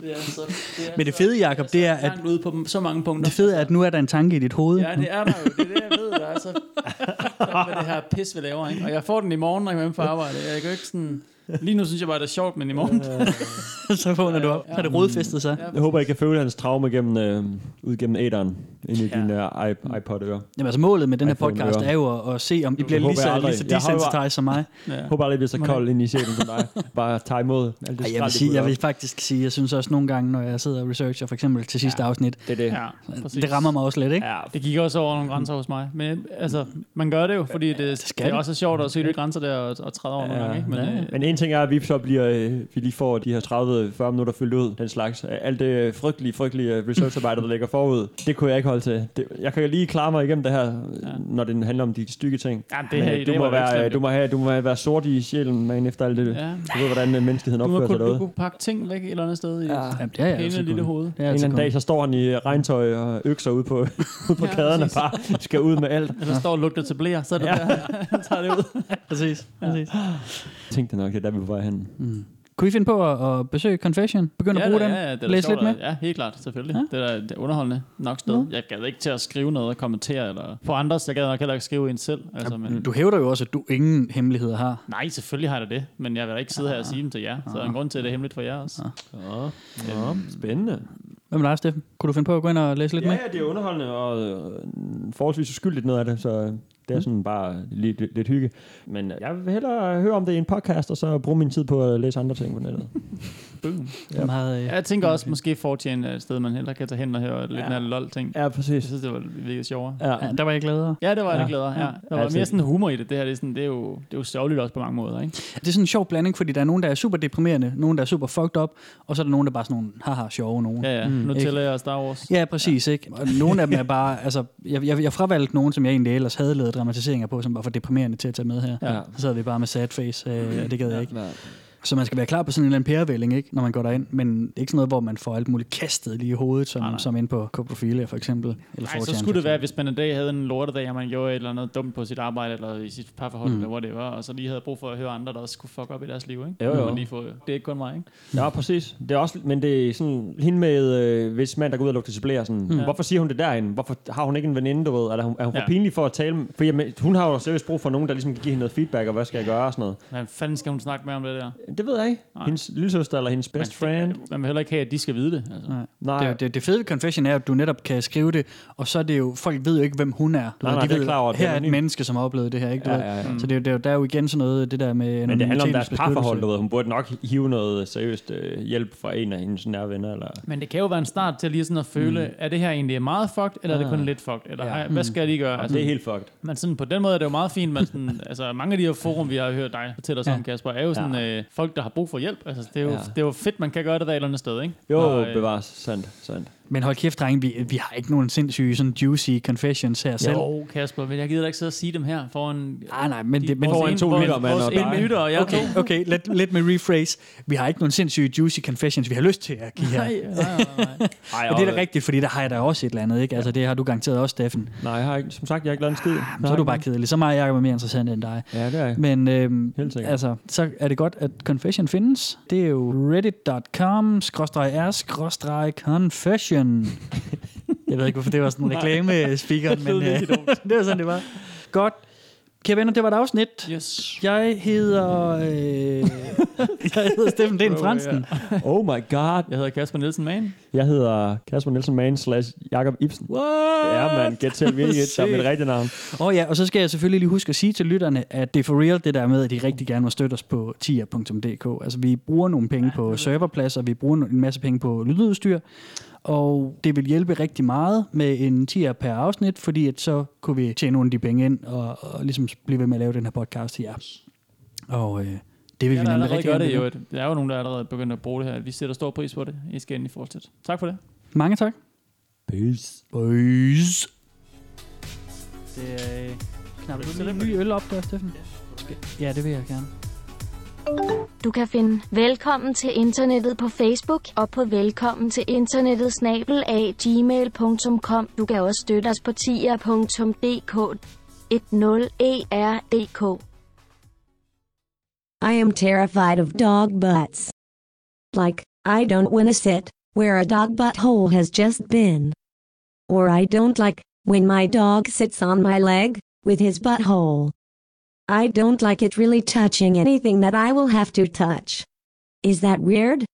Speaker 3: Det er så, det er
Speaker 5: Men det
Speaker 3: så-
Speaker 5: fede, Jacob, det er,
Speaker 3: så
Speaker 5: at
Speaker 3: langt ude på m- så mange punkter.
Speaker 5: det fede er, at nu er der en tanke i dit hoved.
Speaker 3: Ja, det er der jo. Det er det, jeg ved, der er så fucked up med det her pis, vi laver. Ikke? Og jeg får den i morgen, når jeg er hjemme fra arbejde. Jeg kan jo ikke sådan... Lige nu synes jeg bare, det er sjovt, men i morgen...
Speaker 5: Øh, så vågner du op. Så er det rodfæstet sig.
Speaker 4: Jeg håber, I kan føle hans traume gennem, øh, ud gennem æderen, ind i ja. din øh, i- iPod-ører.
Speaker 5: Jamen, altså målet med den her
Speaker 4: iPhone
Speaker 5: podcast
Speaker 4: ører.
Speaker 5: er jo at, at se, om I bliver
Speaker 4: håber
Speaker 5: lige så,
Speaker 4: jeg aldrig.
Speaker 5: lige så
Speaker 4: Jeg holder-
Speaker 5: desensitized som mig.
Speaker 4: Jeg håber aldrig, det bliver så koldt ind i sjælen som dig. Bare tage imod alt
Speaker 5: Ej,
Speaker 4: det
Speaker 5: jeg,
Speaker 4: skrald,
Speaker 5: vil
Speaker 4: I
Speaker 5: sige, jeg
Speaker 4: putter
Speaker 5: vil faktisk sige, jeg synes også nogle gange, når jeg sidder og researcher, for eksempel til sidste afsnit,
Speaker 4: op. Det er det.
Speaker 3: Ja, præcis.
Speaker 5: det rammer mig også lidt, ikke?
Speaker 4: Ja,
Speaker 3: Det gik også over nogle grænser hos mig. Men altså, man gør det jo, fordi det, det,
Speaker 5: skal
Speaker 3: det er
Speaker 5: det.
Speaker 3: også er sjovt at se de grænser der og, og træde over nogle
Speaker 4: Ja.
Speaker 3: gange. Ikke? Men,
Speaker 5: Ja.
Speaker 3: øh,
Speaker 4: Men en ting er, at vi så bliver, øh, vi lige får de her 30-40 minutter fyldt ud, den slags. Alt det øh, frygtelige, frygtelige øh, researcharbejde, der ligger forud, det kunne jeg ikke holde til. Det, jeg kan lige klare mig igennem det her, ja. når det handler om de stykke ting.
Speaker 3: Ja, det her i
Speaker 4: øh, du,
Speaker 3: dag
Speaker 4: må
Speaker 3: var jo ikke
Speaker 4: være,
Speaker 3: slemt.
Speaker 4: du, må have, du må have, være sort i sjælen, man, efter alt det.
Speaker 3: Ja.
Speaker 4: Ja. Du ved, hvordan øh, menneskeheden
Speaker 3: du, må
Speaker 4: opfører sig
Speaker 3: kunne, du
Speaker 4: derude.
Speaker 3: kunne pakke ting væk et eller andet sted i ja.
Speaker 5: Jamen, det er jeg
Speaker 3: hele
Speaker 5: altid
Speaker 3: lille
Speaker 5: kunnet.
Speaker 3: hoved.
Speaker 5: Det er
Speaker 4: En
Speaker 5: jeg
Speaker 4: eller
Speaker 5: altid
Speaker 4: anden
Speaker 5: kunnet.
Speaker 4: dag, så står han i øh, regntøj og økser ude på, ude på
Speaker 3: Ja,
Speaker 4: ja, gaderne,
Speaker 3: præcis.
Speaker 4: bare skal ud med alt.
Speaker 3: Eller står og lugter til blære, så er det ja. der, han tager det ud.
Speaker 5: Præcis, præcis.
Speaker 4: Jeg tænkte nok, det er der, vi er på vej hen.
Speaker 5: Kunne I finde på at, at besøge Confession? Begynde
Speaker 3: ja,
Speaker 5: at bruge
Speaker 3: da,
Speaker 5: den?
Speaker 3: Ja, ja, det er da
Speaker 5: Læse
Speaker 3: sjovt,
Speaker 5: lidt med?
Speaker 3: at- Ja, helt klart, selvfølgelig. Ja? Det er da det er underholdende nok sted.
Speaker 5: Nå.
Speaker 3: Jeg gad ikke til at skrive noget og kommentere, eller på andres, jeg gad nok heller ikke skrive en selv. Altså, men,
Speaker 5: Du hævder jo også, at du ingen hemmeligheder har.
Speaker 3: Nej, selvfølgelig har jeg da det, men jeg vil da ikke sidde her og sige dem til jer. Så der er en grund til, at det er hemmeligt for jer også. Ja.
Speaker 4: Nå, spændende.
Speaker 5: Hvad med dig, Steffen? Kunne du finde på at gå ind og læse lidt
Speaker 4: Ja,
Speaker 5: med?
Speaker 4: ja, det er underholdende og øh, forholdsvis uskyldigt noget af det, så øh, det er sådan bare lidt, lidt, lidt hygge. Men øh, jeg vil hellere høre om det i en podcast, og så bruge min tid på at læse andre ting på nettet.
Speaker 3: Boom.
Speaker 5: Ja. Meget, øh,
Speaker 3: Jeg tænker også, måske fortjene et sted, man heller kan tage hen og høre lidt
Speaker 4: Ja.
Speaker 3: mere lol-ting.
Speaker 4: Ja, præcis.
Speaker 3: Jeg synes, det var virkelig sjovere.
Speaker 5: Ja, der var jeg gladere.
Speaker 3: Ja, det var jeg ja. glæder. Ja. Der var
Speaker 5: Altså-
Speaker 3: mere sådan humor i det. Det her det er, sådan, det er jo, det er jo sørgeligt også på mange måder, ikke?
Speaker 5: Det er sådan en sjov blanding, fordi der er nogen, der er super deprimerende, nogen, der er super fucked up, og så er der nogen, der er bare sådan nogle, haha, sjove nogen.
Speaker 3: Ja, ja. Mm. Nutella og Star Wars.
Speaker 5: Ja, præcis, ja. ikke? Og nogle af dem er bare, altså, jeg, jeg, jeg fravalgte nogen, som jeg egentlig ellers havde lavet dramatiseringer på, som var for deprimerende til at tage med her.
Speaker 3: Ja.
Speaker 5: Så sad vi bare med sad face, øh, og det gad jeg ikke.
Speaker 4: Ja.
Speaker 5: Så man skal være klar på sådan en eller anden pærevælling, ikke, når man går derind, men ikke sådan noget, hvor man får alt muligt kastet lige i hovedet, som, som ind på Coprophilia for eksempel. Eller
Speaker 3: Nej, så
Speaker 5: 4chan.
Speaker 3: skulle det være, hvis man en dag havde en lortedag, og man gjorde et eller andet dumt på sit arbejde, eller i sit parforhold,
Speaker 5: Mm.
Speaker 3: mm. eller hvor det var, og så lige havde brug for at høre andre, der også kunne fuck op i deres liv, ikke?
Speaker 4: Jo,
Speaker 3: Nu
Speaker 4: jo.
Speaker 3: Man lige få, det er ikke kun mig, ikke?
Speaker 4: Ja, præcis. Det er også, men det er sådan, hende med, øh, hvis mand, der går ud og lugter cibler, sådan,
Speaker 3: Mm.
Speaker 4: mm. hvorfor siger hun det derinde? Hvorfor har hun ikke en veninde, du ved? Er, der, er hun for
Speaker 3: Ja.
Speaker 4: pinlig for at tale? med- For jamen, hun har jo seriøst brug for nogen, der ligesom kan give hende noget feedback, og hvad skal jeg gøre og sådan noget.
Speaker 3: Hvad fanden skal hun snakke med om det der?
Speaker 4: Det ved jeg ikke. Hendes lillesøster eller hendes best friend. Mm.
Speaker 3: Man vil heller ikke have, at de skal vide det. Altså.
Speaker 5: Nej.
Speaker 4: Nej.
Speaker 5: Det, er jo- det, det fede ved Confession er, at du netop kan skrive det, og så er det jo, folk ved jo ikke, hvem hun er. Du
Speaker 4: Nej,
Speaker 5: ved,
Speaker 4: nej,
Speaker 5: de
Speaker 4: det er
Speaker 5: ved,
Speaker 4: klar over, at det
Speaker 5: her
Speaker 4: er
Speaker 5: er et
Speaker 4: anonymt.
Speaker 5: menneske, som har oplevet det her, ikke? Du
Speaker 4: Ja,
Speaker 5: ved?
Speaker 4: ja, ja.
Speaker 5: Så det, er jo- det, er jo- der er jo igen sådan noget, det der med
Speaker 4: Men det handler om
Speaker 5: anonymitetens
Speaker 4: deres
Speaker 5: beskyttelse.
Speaker 4: parforhold, du ved. Hun burde nok hive noget seriøst øh, hjælp fra en af hendes nære venner. Eller...
Speaker 3: Men det kan jo være en start til lige sådan at føle, mm. er det her egentlig meget fucked, eller er det kun
Speaker 4: Ah.
Speaker 3: lidt fucked? Eller
Speaker 4: Ja. Mm.
Speaker 3: ja. hvad skal jeg lige gøre? Altså,
Speaker 4: Og Altså, det er helt fucked.
Speaker 3: Men sådan, på den måde er det jo meget fint, men sådan, altså, mange af de her forum, vi har hørt dig fortælle os
Speaker 5: Ja.
Speaker 3: om, Kasper, er jo sådan, øh, folk, der har brug for hjælp. Altså, det, er jo,
Speaker 4: Ja.
Speaker 3: ja. det er jo fedt, man kan gøre det der et eller andet sted, ikke?
Speaker 4: Jo,
Speaker 3: Og, øh,
Speaker 4: bevares. Sandt, sandt.
Speaker 5: Men hold kæft, drenge, vi, vi har ikke nogen sindssyge, sådan juicy confessions her selv.
Speaker 3: Jo, Kasper, men jeg gider da ikke sidde og sige dem her foran...
Speaker 5: Nej, nej, men det... Men vores
Speaker 3: Vores en- vores- vores en lytter og jeg
Speaker 5: okay,
Speaker 3: to.
Speaker 5: okay, let, let me rephrase. Vi har ikke nogen sindssyge juicy confessions, vi har lyst til at give her.
Speaker 3: Nej, nej, nej, nej.
Speaker 4: Ej,
Speaker 5: Og det er da rigtigt, fordi der har jeg da også et eller andet, ikke? Altså, det har du garanteret også, Steffen.
Speaker 4: Nej, jeg har ikke, som sagt, jeg har ikke lavet en skid.
Speaker 5: Jamen, så er du bare kedelig. Så meget Jacob er mere interessant end dig.
Speaker 4: Ja, det er jeg.
Speaker 5: Men øhm,
Speaker 4: Helt sikkert.
Speaker 5: altså, så er det godt, at Confession findes. Det er jo reddit.com-r-confession. Jeg ved ikke, hvorfor det var sådan en reklame-speaker, men øh, det var sådan, det var. Godt. Kære venner, det var et afsnit.
Speaker 3: Yes.
Speaker 5: Jeg hedder... Øh, jeg hedder Steffen Den Fransen.
Speaker 4: Oh my god.
Speaker 3: Jeg hedder Kasper Nielsen Mann.
Speaker 4: Jeg hedder Kasper Nielsen Mann slash Jakob Ibsen.
Speaker 5: What?
Speaker 4: Ja, man. Get til virkelig et som et rigtigt navn.
Speaker 5: Åh oh, ja, og så skal jeg selvfølgelig lige huske at sige til lytterne, at det er for real det der med, at de rigtig gerne må støtte os på tier.dk. Altså vi bruger nogle penge på serverplads, og vi bruger en masse penge på lydudstyr. Og det vil hjælpe rigtig meget med en tier per afsnit, fordi at så kunne vi tjene nogle af de penge ind og, og ligesom blive ved med at lave den her podcast til jer. Og øh, det vil vi
Speaker 3: Ja, der
Speaker 5: nemlig
Speaker 3: allerede
Speaker 5: rigtig
Speaker 3: gør
Speaker 5: gerne.
Speaker 3: det
Speaker 5: blive
Speaker 3: jo.
Speaker 5: ved.
Speaker 3: at- Der er jo nogen, der allerede begynder at bruge det her. Vi sætter stor pris på det. I skal endelig fortsætte. Tak for det.
Speaker 5: Mange tak.
Speaker 4: Peace.
Speaker 5: Peace. Det er... Knapper du lige en ny øl op der, Steffen? Ja, det vil jeg gerne.
Speaker 2: Du kan finde Velkommen til internettet på Facebook og på velkommen til internettet snabel af gmail.com. Du kan også støtte os på tier.dk E 10er.dk.
Speaker 13: I am terrified of dog butts. Like, I don't want to sit where a dog butthole has just been. Or I don't like when my dog sits on my leg with his butthole. I don't like it really touching anything that I will have to touch. Is that weird?